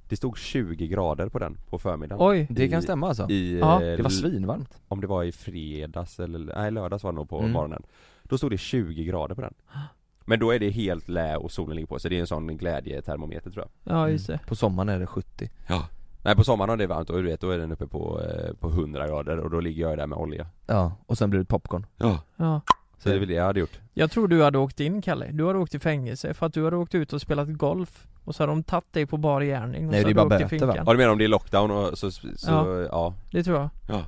Det stod 20 grader på den på förmiddagen.
Oj!
Det kan stämma alltså.
I,
Ja,
eh,
Det var
l-
svinvarmt.
om det var i fredags eller, nej lördags var det nog på
Mm.
morgonen Då stod det 20 grader på den Men då är det helt lä och solen ligger på så det är en sån glädjetermometer tror jag
Ja just det
På sommaren är det 70.
Nej på sommaren om det är varmt och du vet då är den uppe på, eh, på 100 grader och då ligger jag där med olja
Ja, och sen blir det popcorn.
Ja
ja.
Mm.
Så det är väl det jag hade gjort
Jag tror du hade åkt in Kalle, du hade åkt i fängelse för att du hade åkt ut och spelat golf och så har de tagit dig på bar gärning och
Nej, det är
så har du
bara
åkt i
böter, va?
finkan.
Ja du menar om det är lockdown och så, så ja.
Ja.
ja
Det tror jag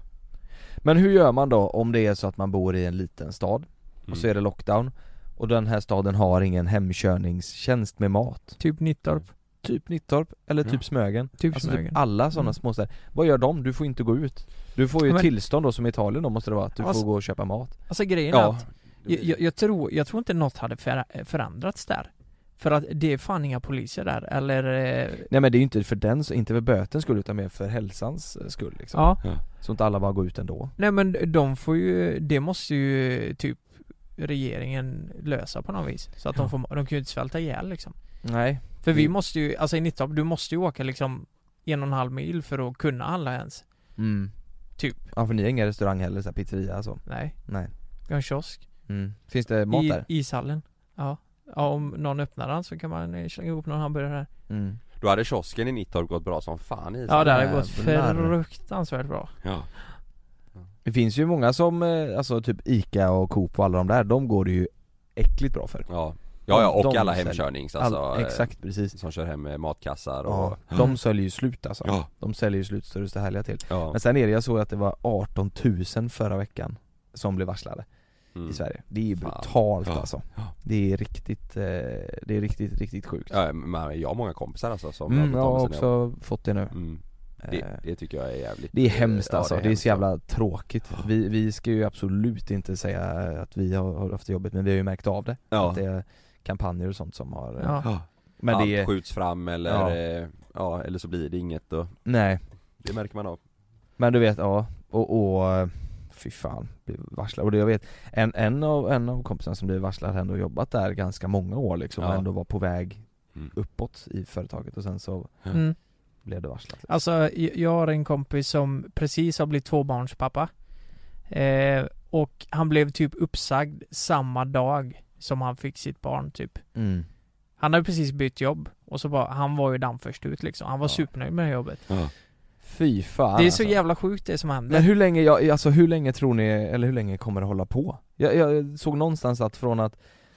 Men hur gör man då om det är så att man bor i en liten stad och så
Mm.
är det lockdown och den här staden har ingen hemkörningstjänst med mat?
Typ Nittorp,
Typ Nittorp eller typ
Ja.
Smögen.
typ
Alltså typ
Smögen
alla sådana
Mm.
småstäder. Vad gör de? Du får inte gå ut. Du får ju
Men-
tillstånd då som i Italien då måste det vara, att du
Alltså-
får gå och köpa mat.
Alltså grejen är
Ja
att jag, jag, jag, tror, jag tror inte något hade förä- förändrats där För att det är fan inga poliser där, eller... eh,
Nej men det är ju inte för den, inte för bötens skull utan mer för hälsans eh, skull liksom.
Ja,
Så inte alla bara går ut ändå.
nej men de får ju, det måste ju typ regeringen lösa på något vis Så att
Ja.
de får, de kan ju inte svälta ihjäl liksom
Nej.
För vi
Mm.
måste ju, alltså i Nittorp, du måste ju åka liksom en och en halv mil för att kunna handla ens
Mm.
Typ.
Ja för ni har ingen restaurang heller, så här pizzeria så.
Nej,
Nej.
vi har en kiosk
Mm. Finns det mat
I
där?
ishallen Ja Ja, om någon öppnar den så kan man eh, slänga ihop någon hamburgare där
Mm.
Då hade kiosken i Nittorp gått bra som fan i
Ja, det hade
Jävlar.
gått fruktansvärt bra
ja.
Det finns ju många som, eh, alltså typ ICA och Coop och alla de där, de går det ju äckligt bra för.
ja Ja ja, och
De
alla
säljer-
hemkörnings
All,
alltså eh,
exakt, precis.
Som kör hem eh, matkassar och
Ja, de säljer ju slut alltså.
Ja.
De säljer ju slut så det är så härliga till.
ja.
Men sen är det, jag såg att det var 18 000 förra veckan som blev varslade
Mm.
i Sverige. Det är
Fan.
brutalt
Ja.
alltså.
Ja.
Det är riktigt, eh, det är riktigt, riktigt sjukt.
Ja, men jag har många kompisar alltså som
Mm, jag
av
har
med sina jobb.
också fått det nu.
Mm.
Eh,
Det, det tycker jag är jävligt eh,
Det är hemskt
Ja,
alltså, det är,
hemskt.
så jävla tråkigt. Vi, vi ska ju absolut inte säga att vi har har haft det jobbigt men vi har ju märkt av det.
ja.
Att det är kampanjer och sånt som har... eh,
Ja.
Men
Allt
det är...
skjuts fram eller,
Ja.
ja. ja eller så blir det inget och
Nej.
det märker man av
Men du vet, ja. Och, och fy fan, blev varslad. Och det jag vet, en, en, av, en av kompisarna som blev varslad hade ändå jobbat där ganska många år liksom och
Ja.
ändå var på väg
Mm.
uppåt i företaget och sen så
Ja.
mm.
blev det varslat. liksom.
Alltså, jag- jag har en kompis som precis har blivit tvåbarnspappa. Eh, och han blev typ uppsagd samma dag som han fick sitt barn typ.
Mm.
Han hade precis bytt jobb och så bara, han var ju den först ut liksom. Han var
Ja.
supernöjd med det jobbet.
Fy fan
Det är
alltså.
så jävla sjukt det som händer.
Men hur länge, jag, alltså hur länge tror ni, eller hur länge kommer det hålla på? Jag, jag såg någonstans att från att,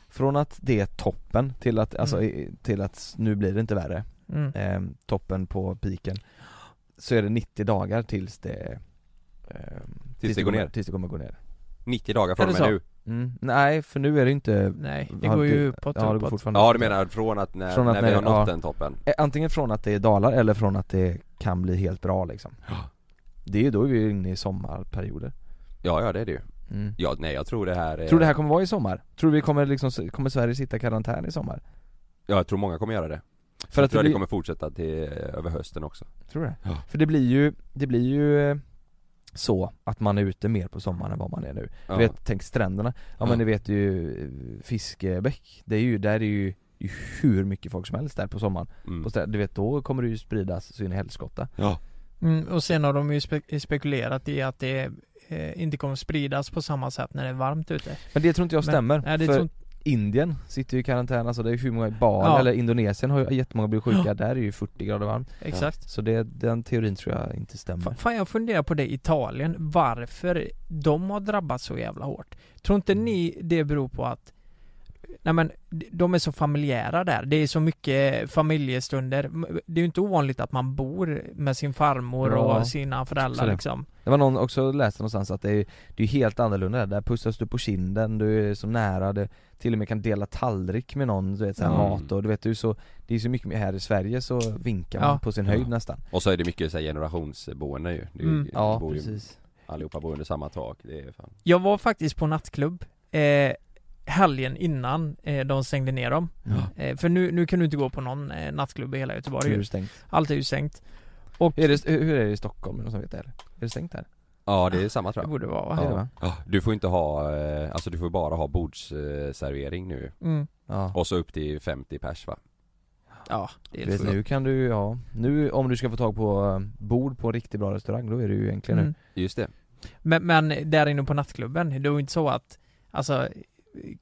från att det är toppen till att, alltså,
Mm.
i- till att nu blir det inte värre,
Mm.
ehm, toppen på piken, så är det 90 dagar tills det ehm,
det går
kommer,
ner.
Tills det kommer gå ner
90 dagar från
Är
och
det
med
så?
nu
Mm. Nej, för nu är det inte
Nej, det
har
går ju
inte-
uppåt,
ja, det går
uppåt.
fortfarande
Ja du
uppåt.
menar från att när,
Från att
när, vi
när-
har nått
ja.
den toppen?
Eh, Antingen från att det är dalar eller från att det kan bli helt bra liksom Det är ju då vi är inne i sommarperioder
Ja ja det är det ju
Mm.
Ja nej jag tror det här är...
Tror du det här kommer vara i sommar? Tror du vi kommer liksom, kommer Sverige sitta i karantän i sommar?
Ja jag tror många kommer göra det
För
Jag
att det
tror det
blir-
kommer fortsätta till eh, över hösten också
Tror du det?
Ja.
För det blir ju, det blir ju eh, så att man är ute mer på sommaren än vad man är nu
Ja.
Du vet, tänk stränderna Ja,
Ja.
men ni vet ju eh, Fiskebäck, det är ju, där är ju ju hur mycket folk som helst där på sommaren
Mm.
på stränder, Du vet, då kommer det ju spridas så in i helskotta
Ja
Mm, och sen har de ju spe- spekulerat i att det eh, inte kommer spridas på samma sätt när det är varmt ute.
Men det tror inte jag
Men-
stämmer,
nej, det
för
tror inte-
Indien sitter ju i karantän, alltså det är ju hur många i Bali,
Ja.
eller Indonesien har ju jättemånga blivit sjuka, där är det ju 40 grader varmt
Exakt.
Så det, den teorin tror jag inte stämmer
Fa- Fan jag funderar på det, Italien, varför de har drabbats så jävla hårt. Tror inte
Mm.
ni det beror på att Nej men, d- de är så familjära där. Det är så mycket familjestunder. M- Det är ju inte ovanligt att man bor med sin farmor
Ja.
och sina
Så
föräldrar
det.
liksom.
Det var någon också läste någonstans att det är, det är helt annorlunda där, där pussas du på kinden, du är så nära, du till och med kan dela tallrik med någon, du vet såhär
Ja.
mat och du vet du är så, det är så mycket mer, här i Sverige så vinkar man
Ja.
på sin höjd
Ja.
nästan
Och så är det mycket så här, generationsboende ju, det är, ju-
Mm.
det
Ja
bor ju,
precis
Allihopa bor under samma tak, det är fan
Jag var faktiskt på nattklubb eh, helgen innan eh, de stängde ner dem. Eh, för nu, nu kan du inte gå på någon eh, nattklubb i hela Göteborg.
Mm. Hur är
ju.
det stängt?
Allt är ju stängt. Och
Är det, hur är det i Stockholm? Är det Någon som vet det eller? Är det stängt där?
Ja det är samma tror
det
jag
borde vara va?
Är det, va?
Ja, Du får inte ha, eh, alltså du får bara ha bordsservering nu
Mm.
Ja.
Och så upp till 50 pers va?
Ja, det är
Du vet,
så.
nu kan du, ja, nu om du ska få tag på eh, bord på en riktigt bra restaurang, då är det ju egentligen
Mm.
nu
Just det
Men, men där inne på nattklubben, det var ju inte så att Alltså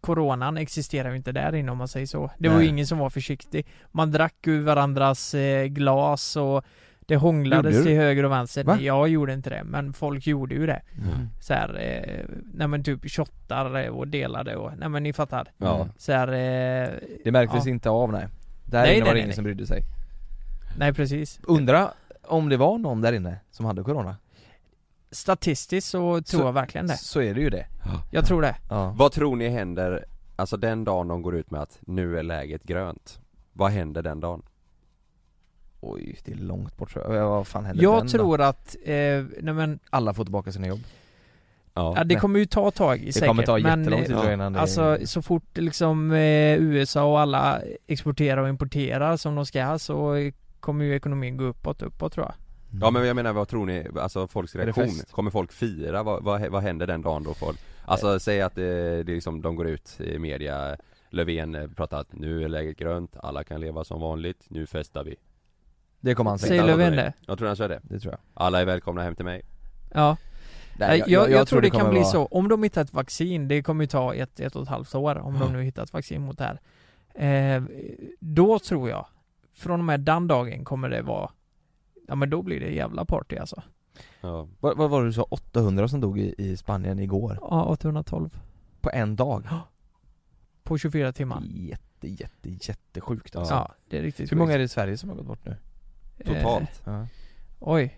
Coronan existerar ju inte där inne om man säger så. Det var ju
Nej.
ingen som var försiktig. Man drack ur varandras eh, glas och det
Gjorde
hånglades
du?
till höger och vänster.
Va?
Jag gjorde inte det, men folk gjorde ju det.
Mm.
Så här, eh, nej men typ shottar och delade och, nej men ni fattar.
Ja
Mm.
Så här, eh,
Det märktes
Ja.
inte av nej Där
Nej,
inne var
nej,
det ingen
nej.
som brydde sig
nej precis.
Undra om det var någon där inne som hade corona?
Statistiskt så tror
Så-
jag verkligen det.
Så är det ju det
Jag tror det.
Ja
Vad tror ni händer, alltså den dagen de går ut med att nu är läget grönt? Vad händer den dagen?
Oj, det är långt bort tror jag. Ja, Vad fan händer
Jag
den då?
tror att, eh, nej men,
Alla får tillbaka sina jobb.
ja, det
nej.
kommer ju ta tag i
Det
säkert.
kommer ta
men,
jättelång
eh,
tid tror jag innan det...
Alltså så fort liksom eh, USA och alla exporterar och importerar som de ska så eh, kommer ju ekonomin gå uppåt, uppåt tror jag.
Ja men jag menar vad tror ni, alltså folks
det
reaktion?
fest?
Kommer folk fira? Vad, vad, vad händer den dagen då folk?
Eh.
Alltså säg att det, det är liksom, de går ut i media Löfven eh, pratar att nu är läget grönt, alla kan leva som vanligt, nu festar vi
Det kommer han säga.
Säger
Alla
Löfven
kommer-
det?
Jag tror han kör det
Det tror jag.
Alla är välkomna hem till mig
Ja. Nej, jag, jag, tror, det kan
kommer
bli
vara-
så. Om de hittar ett vaccin, det kommer ju ta ett, ett och ett halvt år om
Mm.
de nu hittar ett vaccin mot det här. Eh, då tror jag, från och med den dagen kommer det vara Ja men då blir det jävla party alltså.
Ja,
Vad, vad var det du sa? 800 som dog i, i Spanien igår?
Ja, 812.
På en dag?
På 24 timmar.
Jätte, jätte, jättesjukt
Ja,
alltså.
det är riktigt
Hur många är
sjukt.
det i Sverige som har gått bort nu?
Eh,
totalt
Ja.
oj.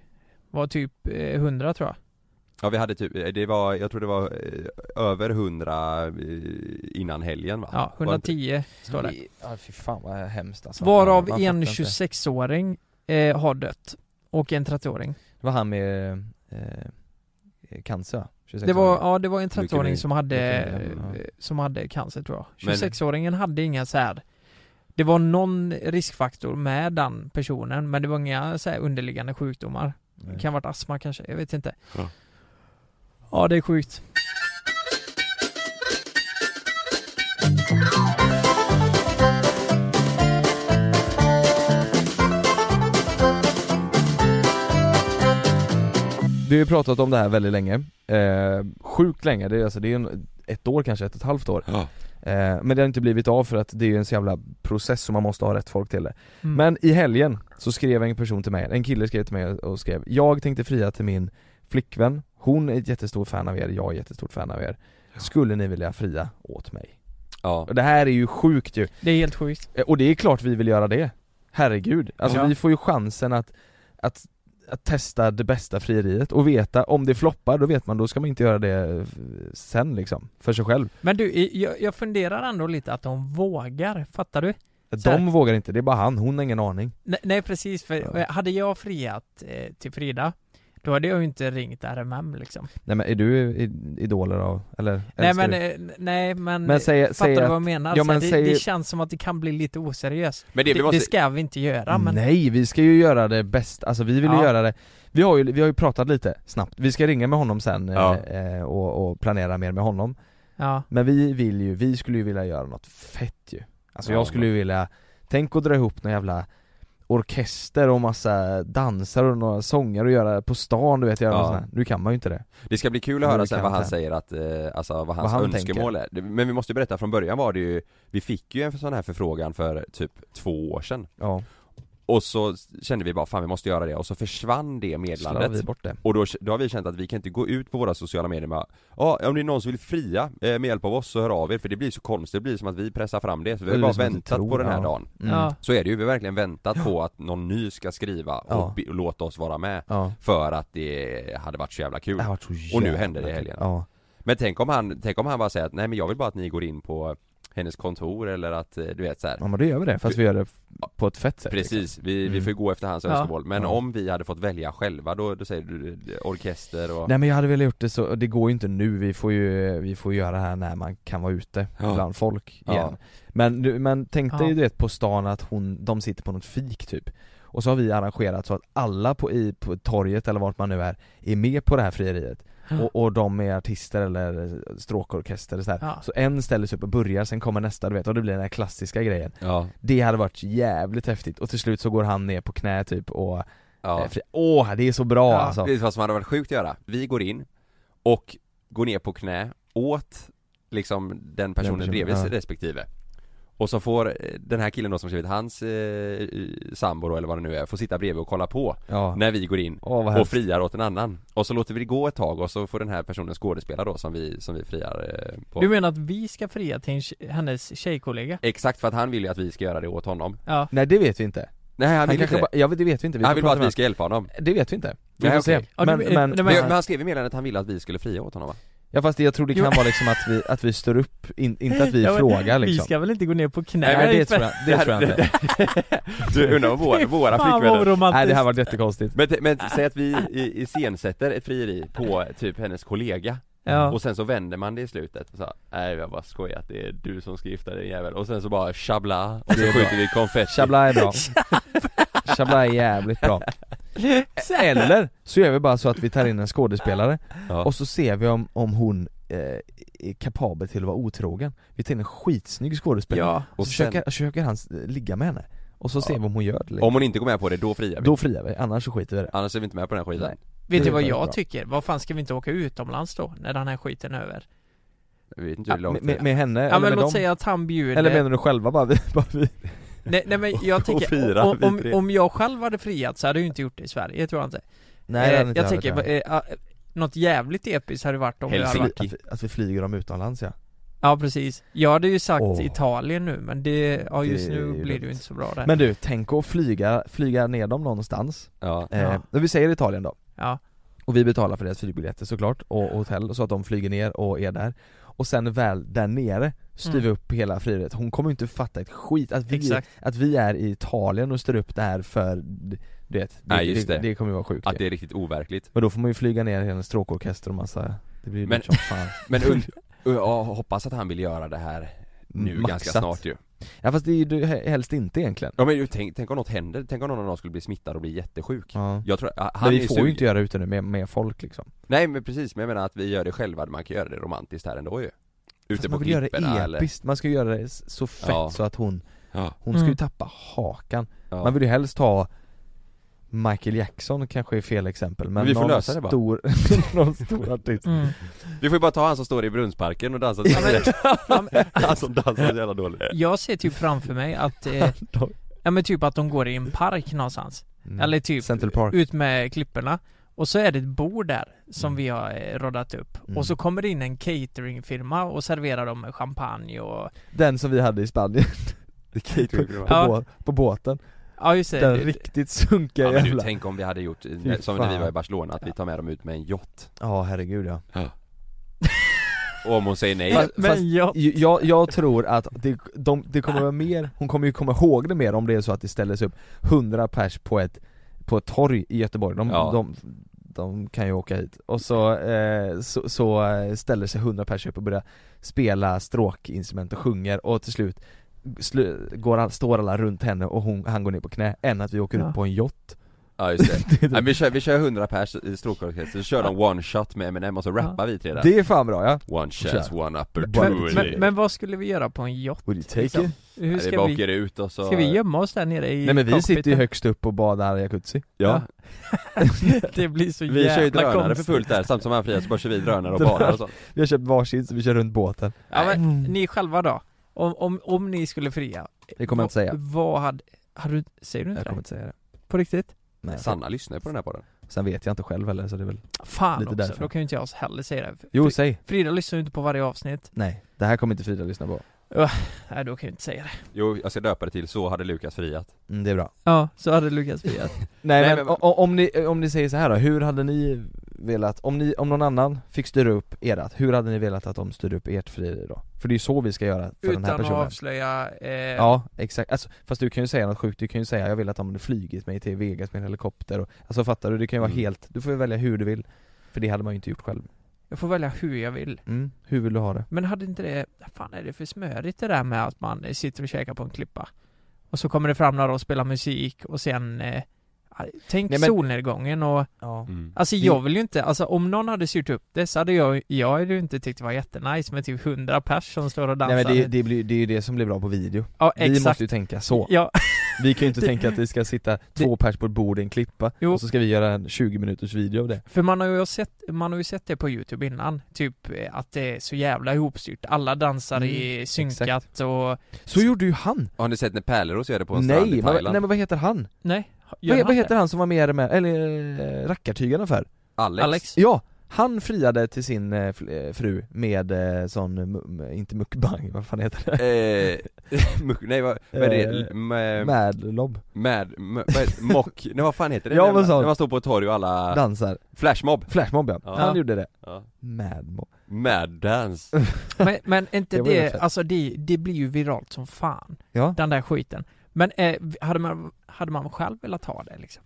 Var typ eh, 100 tror jag.
Ja vi hade typ, eh, det var, jag tror det var eh, över 100 eh, innan helgen va?
Ja,
Var det inte-
110 står det.
Ja, fy fan vad hemskt alltså.
Varav
Man fattar
en
inte.
26-åring eh, har dött. Och en 30-åring.
Det var han med eh, cancer va? 26
Det var,
år.
ja det var en
Leukemi.
30-åring som hade,
Leukemi, ja.
eh, som hade cancer tror jag.
Men-
26-åringen hade inga så här. Det var någon riskfaktor med den personen men det var inga så här underliggande sjukdomar. Det
Nej.
kan ha varit astma kanske, jag vet inte.
Ja.
Ja det är sjukt.
Du har ju pratat om det här väldigt länge, eh, sjukt länge, det är, alltså, det är en, ett år kanske, ett och ett halvt år
Ja.
Eh, Men det har inte blivit av för att det är ju en så jävla process som man måste ha rätt folk till det.
Mm.
Men i helgen så skrev en person till mig, en kille skrev till mig och skrev Jag tänkte fria till min flickvän, hon är ett jättestort fan av er, jag är ett jättestort fan av er Skulle ni vilja fria åt mig?
Ja.
Och det här är ju sjukt ju
Det är helt sjukt.
Eh, Och det är klart vi vill göra det Herregud, alltså
Ja.
vi får ju chansen att, att, att testa det bästa frieriet och veta om det floppar, då vet man, då ska man inte göra det eh, sen liksom, för sig själv
Men du, i- jag, jag funderar ändå lite att de vågar, fattar du? Så här-
De vågar inte, det är bara han, hon har ingen aning
Nej, nej precis, för
Ja.
hade jag friat eh, till Frida, då hade jag ju inte ringt RMM liksom.
Nej men är du i- idoler av, eller
Nej
älskar
men,
du?
eh, nej men, eh,
Men säg-
fattar
säg
du
att-
vad jag menar?
ja,
Så här,
men
det,
säg-
det känns som att det kan bli lite oseriöst.
Men
det,
det, vi måste,
det ska vi inte göra men...
Nej, vi ska ju göra det bäst, alltså vi vill ju
Ja.
göra det vi har, ju, vi har ju pratat lite snabbt, vi ska ringa med honom sen eh,
Ja.
eh, och, och planera mer med honom
Ja.
Men vi vill ju, vi skulle ju vilja göra något fett ju Alltså
Ja,
jag skulle ju vilja, tänk att dra ihop någon jävla orkester och massa dansare och några sånger och göra på stan du vet, göra
Ja.
något sånt här. Nu kan man ju inte det
det ska bli kul att
Men
höra
det
sen
kan
vad han
inte.
säger att, eh, alltså vad hans
han
önskemål är. Det- Men vi måste ju berätta, från början var det ju, vi fick ju en sån här förfrågan för typ två år sedan.
Ja,
Och så kände vi bara fan vi måste göra det och så försvann det
så la vi
meddelandet.
bort det
Och då, då har vi känt att vi kan inte gå ut på våra sociala medier med Ja, om det är någon som vill fria eh, med hjälp av oss så hör av er för det blir så konstigt, det blir som att vi pressar fram det. Så vi har
Det
bara
blir som att vi
väntat
tror,
på den här
ja.
dagen.
Mm.
Ja.
Så är det ju, vi har verkligen väntat på att någon ny ska skriva och,
Ja.
be- och låta oss vara med.
Ja,
För att det hade varit så jävla kul.
det har varit så
Och nu
jävla
hände det i
kul.
helgen.
Ja,
Men tänk om han, tänk om han bara säger att nej men jag vill bara att ni går in på hennes kontor eller att eh, du vet så här.
ja men då gör vi det, fast vi gör det på ett fett sätt
Precis, vi, vi
Mm.
får ju gå efter hans
Ja.
önskemål. Men
Ja.
om vi hade fått välja själva då, då säger du eh, orkester och...
Nej men jag hade velat gjort det så, och det går ju inte nu, vi får ju, vi får ju göra det här när man kan vara ute
Ja.
bland folk
Ja.
igen Men, du- men tänk dig
Ja.
du vet på stan att hon, de sitter på något fik typ Och så har vi arrangerat så att alla på, i, på torget eller vart man nu är, är med på det här frieriet och, och de är artister eller stråkorkester och så, här.
Ja.
så en ställer sig upp och börjar, sen kommer nästa du vet, och det blir den här klassiska grejen
Ja,
Det hade varit jävligt häftigt, och till slut så går han ner på knä typ och,
ja.
eh, fri- åh det är så bra
Ja.
alltså
Det är vad som hade varit sjukt att göra. Vi går in och går ner på knä åt liksom den personen
personen,
bredvid
ja.
respektive. Och så får eh, den här killen då som skrivit hans eh, sambo då, eller vad det nu är, får sitta bredvid och kolla på
Ja,
när vi går in
åh vad
och
häftigt
friar åt en annan. Och så låter vi det gå ett tag och så får den här personen skådespela då som vi, som vi friar eh, på.
Du menar att vi ska fria till en, tje- hennes tjejkollega?
Exakt för att han vill ju att vi ska göra det åt honom.
Ja.
Nej det vet vi inte
Nej han
Han
vill inte
kanske
det.
bara, ja, det vet vi inte, vi
Han
får
vill bara
prata
att vi
med
ska hjälpa honom.
honom. Det vet vi inte, vi
Nej,
får se
okej.
Ja,
men,
det-
men,
det- det-
Men,
Men-
men han skrev i meddelandet att han ville att vi skulle fria åt honom va?
Ja fast jag trodde det kan
Jo.
vara liksom att vi, att vi står upp, in, inte att vi
Ja, men
frågar
Vi
liksom
ska väl inte gå ner på knä?
Nej, men det
för-
tror jag, det tror jag inte
Du undrar vad våra, våra
Fan vad
flickvänner
oromantiskt.
Nej det här var jättekonstigt
men, t- men t- säg att vi i- iscensätter ett frieri på typ hennes kollega
Ja.
och sen så vänder man det i slutet och så Nej jag bara skojat, det är du som ska gifta dig jävel och sen så bara chabla och så skjuter vi konfetti
Chabla är bra Chabla är jävligt bra Eller så gör vi bara så att vi tar in en skådespelare
Ja.
och så ser vi om, om hon eh, är kapabel till att vara otrogen Vi tar in en skitsnygg skådespelare
Ja.
och
och
så
sen-
försöker, försöker han s- ligga med henne Och så ser vi om hon gör det liksom.
Om hon inte går med på det, då friar vi
Då friar vi, annars så skiter vi i det
Annars är vi inte med på den här skiten
Nej.
Vet
Det
du
är
vad
fan
jag
bra.
tycker? Vad fan ska vi inte åka utomlands då? När den här skiten är över?
Vi vet inte hur
med,
långt det
med,
är
med henne,
Ja
eller
men
med
låt
dem?
säga att han bjuder...
Eller menar du själva bara, vi, bara vi?
nej, nej men jag tänker,
fira,
om,
vi
om,
tre.
om jag själv hade friat så hade jag ju inte gjort det i Sverige, tror jag inte.
Nej det
Eh,
hade inte
jag tänker,
varit det.
eh, ah, något jävligt episkt hade det varit om jag hade
Helsing-
varit.
att, vi, att vi flyger dem utomlands ja
Ja precis. Jag hade ju sagt
Åh.
Italien nu men det, ja just
Det är
nu
ju
blir det
dumt.
ju inte så bra där.
Men du, tänk att flyga, flyga ner dem någonstans
Ja,
eh,
Ja.
när Vi säger Italien då,
Ja.
och vi betalar för deras flygbiljetter såklart, och och hotell, så att de flyger ner och är där Och sen väl där nere, styr vi
Mm.
upp hela frieriet, hon kommer ju inte fatta ett skit att vi,
Exakt.
att vi är i Italien och styr upp det här för, du vet, det,
Nej, just
det.
det.
det kommer ju vara sjukt
att det
ju.
är riktigt overkligt
Men då får man ju flyga ner hela en stråkorkester och massa, det blir ju
Men-
dyrt som fan
Men und- jag hoppas att han vill göra det här nu ganska
Maxat.
snart ju
Ja fast det är ju du- helst inte egentligen
Ja men ju, tänk, tänk om något händer, tänk om någon av dem skulle bli smittad och bli jättesjuk
Ja.
Jag tror, han
Men
är
vi får
sugen.
ju inte göra det ute nu med, med folk liksom
Nej men precis, men jag menar att vi gör det själva, man kan göra det romantiskt här ändå ju Ute
Fast
på
man vill göra det
klipporna
episkt,
eller
man ska ju göra det s- så fett
Ja.
så att hon
Ja.
Hon ska ju
Mm.
tappa hakan
Ja.
Man vill ju helst ha Michael Jackson kanske är fel exempel men
Men vi får
någon
lösa det bara.
stor, någon stor artist
Mm.
Vi får ju bara ta han som står i Brunnsparken och dansar till Han som dansar så jävla dåligt
Jag ser typ framför mig att, eh,
De-
ja men typ att de går i en park någonstans.
Mm.
Eller typ
Central Park
ut med klipporna. Och så är det ett bord där som
Mm.
vi har eh, roddat upp.
Mm.
Och så kommer det in en cateringfirma och serverar dem med champagne och...
Den som vi hade i Spanien på,
Ja.
bå- på båten
Ja just det.
Den
Det-
riktigt sunkiga
Ja men du,
jävla
tänk om vi hade gjort, eh,
Fy
som när vi
fan.
var i Barcelona, att vi tar med dem ut med en yacht
Ja herregud ja
Och om hon säger nej
Fast-
men
fast-
jag...
Ju- Jag, jag tror att det, de, det kommer vara mer, hon kommer ju komma ihåg det mer om det är så att det ställs upp 100 pers på ett, på ett torg i Göteborg, de,
Ja.
de, de kan ju åka hit och så, eh, så, så eh, ställer sig 100 pers upp och börjar spela stråkinstrument och sjunger och till slut slu, går, all- står alla runt henne och hon, han går ner på knä, än att vi åker
Ja.
upp på en yacht
Ja just det,
Det-
Nej, vi, kör, vi kör 100 pers i stråkorkester, så kör de one shot med Eminem och så rappar vi tre där
Det är fan bra ja!
One chance, one
men,
opportunity
men, men vad skulle vi göra på en yacht?
Would you
liksom? Hur
Nej, Vi
ska
bara
vi...
åker ut och så
Ska vi gömma oss där nere i
Nej men vi sitter ju
cockpiten?
högst upp och badar i jacuzzi
Ja,
Det blir så
vi
jävla
kör ju drönare för
konstigt.
fullt där, samtidigt som han friar så bara kör vi drönare och badar och så
Vi har köpt varsin så vi kör runt båten
Ja, men, Ni själva då? Om, om, om ni skulle fria,
Det kommer jag inte säga,
vad hade... hade du, säger du inte
jag kommer
det?
inte säga det
På riktigt?
Nej.
Sanna lyssnar ju på den här podden
Sen vet jag inte själv heller så det är väl
Fan
Lite
också,
därför.
då kan ju inte jag heller säga det.
Jo
Fri-
säg!
Frida lyssnar ju inte på varje avsnitt.
Nej, det här kommer inte Frida lyssna på
Nej, då kan jag ju inte säga det.
Jo, alltså jag ska döpa det till 'Så hade Lukas friat'
mm, Det är bra
Ja, så hade Lukas friat.
Nej,
Nej,
men,
men-
o- om, ni, om ni säger så här då, hur hade ni velat, om, ni, om någon annan fick styra upp erat, hur hade ni velat att de styrde upp ert frieri då? För det är ju så vi ska göra för den
Utan
här
att
personen
avslöja... Eh,
Ja, exakt. Alltså, fast du kan ju säga något sjukt, du kan ju säga jag vill att de hade flugit mig till Vegas med en helikopter och, Alltså fattar du? Det kan ju vara
Mm.
helt, du får ju välja hur du vill För det hade man ju inte gjort själv
Jag får välja hur jag vill.
mm. Hur vill du ha det?
Men hade inte det... Fan, är det för smörigt det där med att man sitter och käkar på en klippa? Och så kommer det fram några och spelar musik och sen... Eh, tänk
Nej, men-
solnedgången och...
Ja
Alltså
Ah,
Det-
jag vill ju inte, alltså om någon hade styrt upp det så hade jag, jag hade ju inte tyckt det var jättenice med typ 100 pers som står och dansar.
Nej men det, det, blir, det är ju det som blir bra på video
ja
Vi
exakt.
måste ju tänka så
Ja,
Vi kan ju inte
Det-
tänka att vi ska sitta två pers på ett bord i en klippa
Jo.
och så ska vi göra en 20 minuters video av det
för man har ju sett, man har ju sett det på youtube innan, typ eh, att det är så jävla ihopstyrt, alla dansar
Mm,
i synkat och...
Så gjorde ju han!
Har ni sett när Pärleros gör det på en strand
Nej,
i
vad-
Thailand?
nej men vad heter han?
Nej, gör
Vad,
han
vad
det?
heter han som var med i det med, eller eh, rackartygarna för?
Alex,
Alex?
Ja! Han friade till sin eh, fl- eh, fru med eh, sån, mu- m- inte mukbang, vad fan heter det?
Eh, muck- nej vad, vad är det?
Eh,
Med, med,
Madlob,
med, med mock, nej vad fan heter det?
Ja,
när,
men så-
man, när man står på ett torg och alla,
dansar,
flashmob
flashmob ja.
Ja.
han gjorde det
ja.
Madmob
Mad dance
Men, men inte
Det
det,
var ju rätt fett.
alltså det, det blir ju viralt som fan,
Ja,
den där skiten. Men eh, hade, man, hade man själv velat ha det liksom?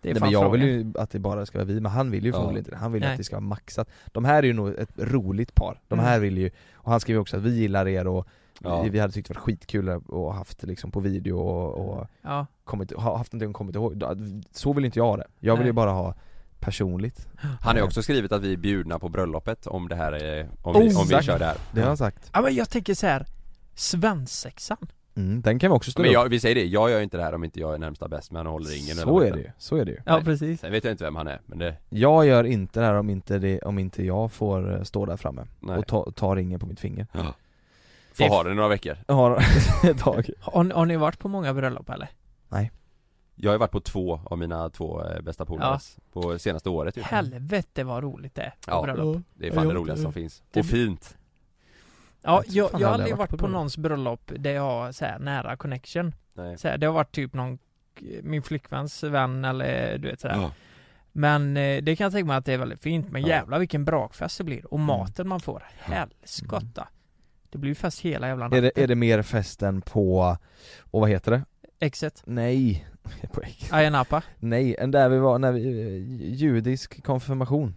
Det är
nej,
fan
men jag
frågan.
vill ju att det bara ska vara vi, men han vill ju
Ja.
förmodligen inte det, han vill ju
Nej.
att det ska vara maxat De här är ju nog ett roligt par, de här
Mm.
vill ju, och han skrev ju också att vi gillar er och
Ja.
vi, vi hade tyckt det var skitkul att- och haft liksom på video och, och
Ja,
kommit, ha- haft någonting och kommit ihåg, Då- så vill inte jag ha det. Jag vill
Nej.
ju bara ha personligt.
Han har ju också skrivit att vi är bjudna på bröllopet om det här är, om vi,
Oh,
om vi
exakt.
kör det här
Det har han sagt.
ja men jag tänker så här. svensexan?
Mm, den kan vi också ställa
Men
upp.
jag, vi säger det, jag gör inte det här om inte jag är närmsta bäst men håller ringen
Så
vad
är det
heter
ju, så är det ju.
Ja
Nej.
precis.
Sen vet jag inte vem han är, men det,
Jag gör inte det här om inte, det, om inte jag får eh, stå där framme
nej,
och ta, ta ringen på mitt finger.
får
det-
ha den några veckor
Jag har ett tag.
Har, har ni varit på många bröllop eller?
Jag har ju varit på två av mina två eh, bästa polares på senaste
Typ.
året ju.
Helvete vad roligt det är på
Ja.
bröllop.
Det är fan det roligaste som finns. Och fint!
Ja,
Jag tror
jag,
fan
jag har
aldrig
aldrig varit på,
bröllop.
någons bröllop där jag har så här, nära connection.
Nej.
Så här, det har varit typ någon, min flickväns vän eller du vet sådär.
Ja.
Men eh, det kan jag tänka mig att det är väldigt fint. Men
Ja.
jävlar vilken brakfest det blir. Och
Mm.
maten man får. Helskotta. Det blir ju fest hela jävla
Är
natten.
det, är det mer festen på, och vad heter det?
Exet.
Nej, på ex-
Ayia Napa.
nej, än där vi var, när vi, eh, judisk konfirmation.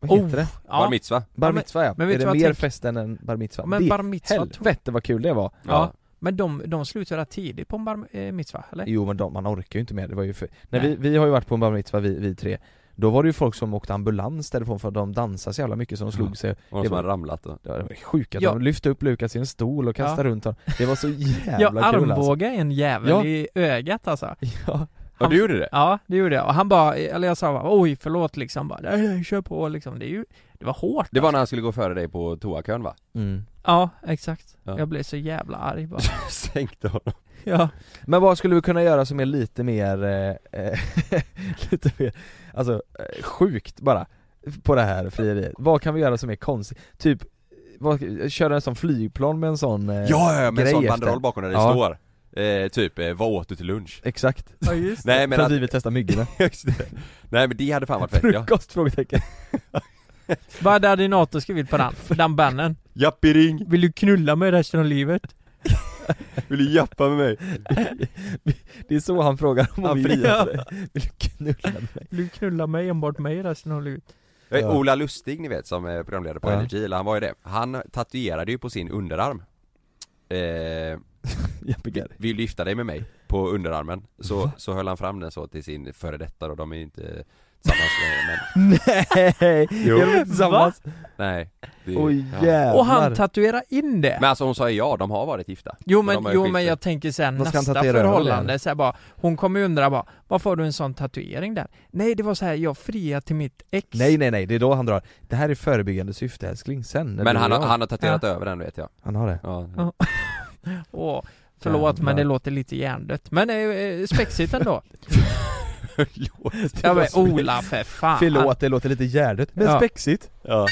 Vad
Oh,
heter det?
Bar
Ja.
mitzva!
Bar
men-
mitzva ja.
men vet
är
du
det
vad
mer
jag tänk-
fest än en bar mitzva?
Men
det,
bar mitzva tror
helvete vad kul det var!
Ja. Men de, de slutar rätt tidigt på en bar eh, mitzva, eller?
Jo men de, man orkar ju inte mer, det var ju för... När
Nej.
vi, vi har ju varit på en bar mitzvah vi, vi tre Då var det ju folk som åkte ambulans därifrån för att de dansade så jävla mycket så de slog
Ja.
sig
Och
Det
de som
var-
har ramlat och...
Det var sjukt, att
Ja.
de lyfte upp Lukas i en stol och kastade runt honom Det var så
Ja,
jävla kul alltså.
armbåga en jävel
Ja.
i ögat alltså.
Ja,
Ja du gjorde det?
Ja, det gjorde jag. Och han bara, eller jag sa bara, oj förlåt liksom, bara, nej, nej, kör på liksom. Det, är ju, det var hårt.
Det var när han skulle gå före dig på toakön va?
Mm.
Ja, exakt.
Ja.
Jag blev så jävla arg bara.
Sänkte honom
ja.
Men vad skulle vi kunna göra som är lite mer, eh, eh, lite mer, alltså eh, sjukt bara på det här frieriet? Vad kan vi göra som är konstigt? Typ, vad, köra en sån flygplan med en sån eh,
Ja, ja, med en
grej
sån
efter?
banderoll bakom där det
Ja.
står eh, Typ, eh, vad åt du till lunch?
Exakt,
ja, just det.
Nej men
för att
att,
vi vill testa myggorna
just det. Nej men det hade fan varit fett ja
Frukost? Frågetecken
Vad hade NATO skrivit på den, den bannern?
Jappi ring,
Vill du knulla mig resten av livet?
vill du jappa med mig?
Det är så han frågar om
Han
vi vill,
friar.
vill du knulla mig?
Vill du knulla mig, enbart mig resten av livet?
Eh,
Ja.
Ola Lustig ni vet som är programledare på
Ja.
Energy, eller han var ju det Han tatuerade ju på sin underarm eh,
Jeppe Gary.
Vill du gifta dig med mig? På underarmen Så, så höll han fram den så till sin före detta då, de är ju inte tillsammans längre men
Nej!
Jo.
Gör de inte tillsammans?
nej det-
Oj
ja.
jävlar!
Och han tatuerar in det!
Men alltså hon sa ju ja, de har varit gifta
Jo
de
men,
har ju
jo
skilt
men
sig.
jag tänker sen
Vad ska han
nästa
tatuera över
förhållande,
den?
så här bara, hon kommer ju undra bara, varför har du en sån tatuering där? Nej det var så här, jag friade till mitt ex.
Nej nej nej, det är då han drar. Det här är förebyggande syfte älskling, sen när
Men
du
han,
och
har-
jag-
han har tatuerat över den vet jag
han har det.
ja.
Ja. Åh, förlåt men
Jävlar.
det låter lite hjärndött. Men eh, eh, spexigt ändå.
Förlåt.
ja men Ola för fan.
Förlåt, det låter lite hjärndött, men
Ja.
spexigt.
Ja.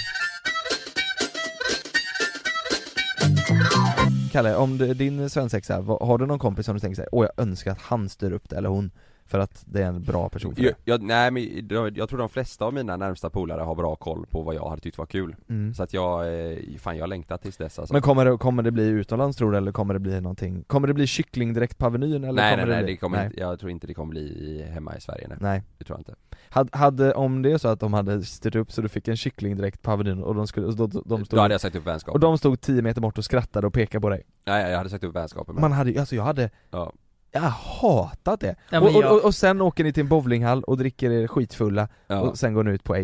Kalle, om du, din svensexa, vad- har du någon kompis som du tänker såhär, åh jag önskar att han styr upp det, eller hon, för att det är en bra person för
Jag,
det?
jag, nej men jag, jag tror de flesta av mina närmsta polare har bra koll på vad jag hade tyckt var kul
Mm.
Så att jag, eh, fan jag har längtat tills dess alltså.
Men kommer det, kommer det bli utomlands tror du, eller kommer det bli någonting, kommer det bli kyckling direkt på Avenyn eller
Nej
kommer
nej nej,
bli?
det kommer
nej.
Inte, jag tror inte det kommer bli hemma i Sverige nej,
Nej.
det tror jag inte
Hade, hade, om det är så att de hade styrt upp så du fick en kyckling direkt på Avenyn och de skulle, och de, de
Då
stod,
hade jag sagt upp
och
vänskapen,
de stod 10 meter bort och skrattade och pekade på dig
nej jag hade sagt upp vänskapen men
Man hade ju- alltså jag hade
Ja.
Jag hatat det!
Ja,
och,
men jag-
och, och sen åker ni till en bowlinghall och dricker er skitfulla
ja.
och sen går ni ut på 8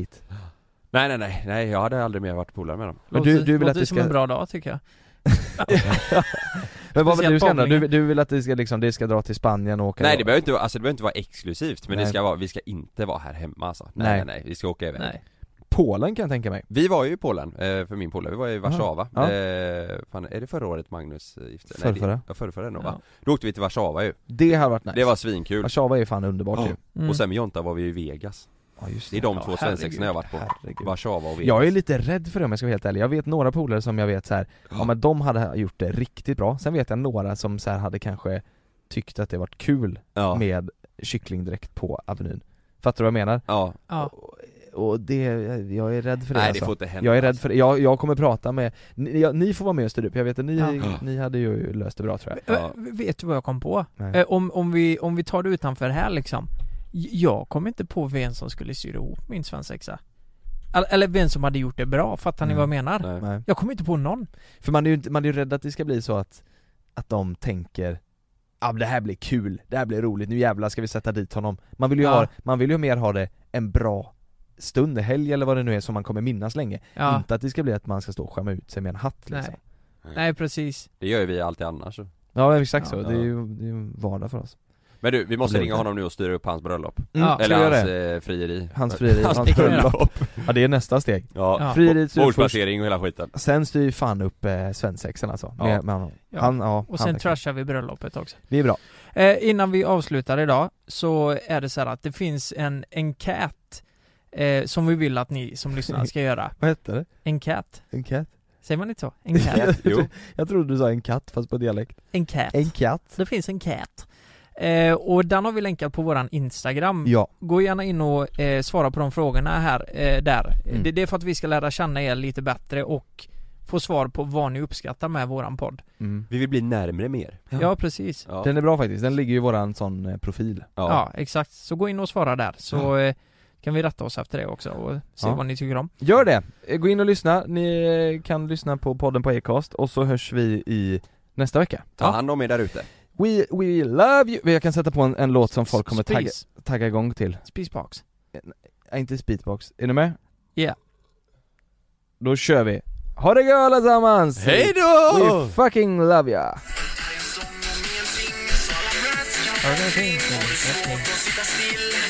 Nej nej nej, nej jag hade aldrig mer varit polare med dem
Men
Låter-
du, du vill
låter
att vi
som
ska,
en bra dag tycker jag.
men vad vill du
speciellt
ska ändra? Du,
bowlingen.
du vill att det ska liksom, det ska dra till Spanien och åka
Nej det behöver inte, vara- alltså det behöver inte vara exklusivt men det
Nej.
ska vara, vi ska inte vara här hemma alltså Nej
Nej.
nej nej, vi ska åka iväg
Nej.
Polen kan jag tänka mig
Vi var ju i Polen, eh, för min polare, vi var i Warszawa
Ja.
eh, fan, är det förra året Magnus eh, gifte sig? Nej,
Förrförra.
det- Ja förrförra nog va?
Ja.
Då åkte vi till Warszawa ju,
Det har varit nice
det var svinkul
Warszawa är fan underbart
Ja.
ju
Mm.
Och sen med Jonta var vi i Vegas
Ja just
Det är de
Ja,
två svensexorna jag har varit på,
Herregud.
Warszawa och Vegas
Jag är lite rädd för det om jag ska vara helt ärlig, jag vet några polare som jag vet så här, ja men de hade gjort det riktigt bra, sen vet jag några som så här hade kanske tyckt att det varit kul
ja.
med kycklingdräkt på Avenyn Fattar du vad jag menar?
ja.
Ja.
Och det, jag är rädd för det
Nej det
alltså.
får inte hända
Jag är rädd för det, jag, jag kommer prata med, ni, jag, ni får vara med och styra upp, jag vet att ni,
Ja.
ni hade ju löst det bra tror jag
Ja.
Eh, Vet du vad jag kom på?
Nej.
Eh, Om, om, vi, om vi tar det utanför här liksom. J- Jag kom inte på vem som skulle styra ihop min svensexa. All- Eller vem som hade gjort det bra, fattar ni
Mm.
vad jag menar?
Nej.
Nej.
Jag kom inte på någon.
För man är ju, inte- man är ju rädd att det ska bli så att, att de tänker Ja men det här blir kul, det här blir roligt, nu jävlar ska vi sätta dit honom Man vill ju,
Ja.
ha, man vill ju mer ha det en bra stund, helg eller vad det nu är som man kommer minnas länge
Ja.
Inte att det ska bli att man ska stå och skämma ut sig med en hatt liksom
Mm. Nej. Nej precis.
Det gör ju vi alltid annars
Ja men exakt så,
Ja.
det är ju det är ju vardag för oss
Men du, vi måste
Blod.
ringa honom nu och styra upp hans bröllop
mm,
Ja.
ja.
Eller
Eller göra
hans
det?
eh, frieri
Hans frieri,
Hans
hans
bröllop.
bröllop Ja det är nästa steg
Ja,
Ja.
Frieriet styr först,
Bordsplacering och hela skiten
sen styr ju fan upp eh, svensexan alltså
Ja.
med, med honom.
Ja.
Han, ja,
Och
han
sen
verkar-
trashar vi bröllopet också.
Det är bra,
Eh, innan vi avslutar idag så är det så här att det finns en enkät eh, som vi vill att ni som lyssnar ska göra.
vad hette det?
Enkät?
En katt?
Säger man inte så? Enkät?
Jo,
Jag trodde du sa en katt fast på dialekt
Enkät.
En katt?
Det finns en cat. Eh, och den har vi länkat på våran Instagram.
Ja
Gå gärna in och eh, svara på de frågorna här, eh, där.
Mm.
Det, det är för att vi ska lära känna er lite bättre och få svar på vad ni uppskattar med våran podd.
vi vill bli närmre mer
Ja, precis.
Ja.
Den är bra faktiskt, den ligger ju i våran sån eh, profil
Ja.
Ja.
exakt. Så gå in och svara där så eh, kan vi rätta oss efter det också och se
Ja.
vad ni tycker om.
Gör det! Eh, Gå in och lyssna, ni eh, kan lyssna på podden på Acast och så hörs vi i nästa vecka
ta hand om er där ute
We, we love you! Jag kan sätta på en, en låt som folk kommer tagga,
Spis.
tagga igång till
Spisbox.
Äh, inte speedbox. Är ni med?
Ja.
Då kör vi. Ha det gött allesammans!
Hej då!
We fucking love ya!
Som om ingenting, så alla möts, ja,
Ja, det är fint. Det är fint.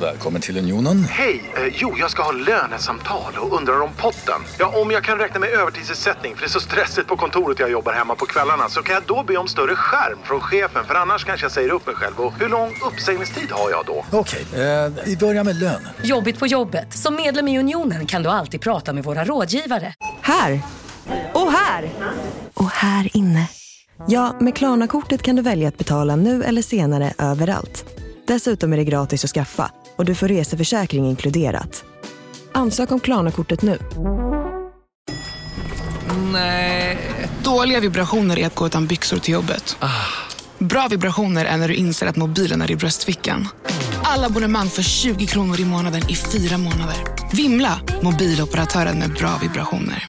Välkommen till Unionen.
Hej! Eh, jo, jag ska ha lönesamtal och undrar om potten. Ja, om jag kan räkna med övertidsersättning för det är så stressigt på kontoret jag jobbar hemma på kvällarna så kan jag då be om större skärm från chefen för annars kanske jag säger upp mig själv. Och hur lång uppsägningstid har jag då?
Okej, eh, vi börjar med lön.
Jobbigt på jobbet. Som medlem i Unionen kan du alltid prata med våra rådgivare.
Här! Och här! Och här inne. Ja, med Klarna-kortet kan du välja att betala nu eller senare överallt. Dessutom är det gratis att skaffa och du får reseförsäkring inkluderat. Ansök om Klarna-kortet nu.
Nej. Dåliga vibrationer är att gå utan byxor till jobbet. Bra vibrationer är när du inser att mobilen är i bröstfickan. Alla abonnemang för 20 kronor i månaden i fyra månader. Vimla! Mobiloperatören med bra vibrationer.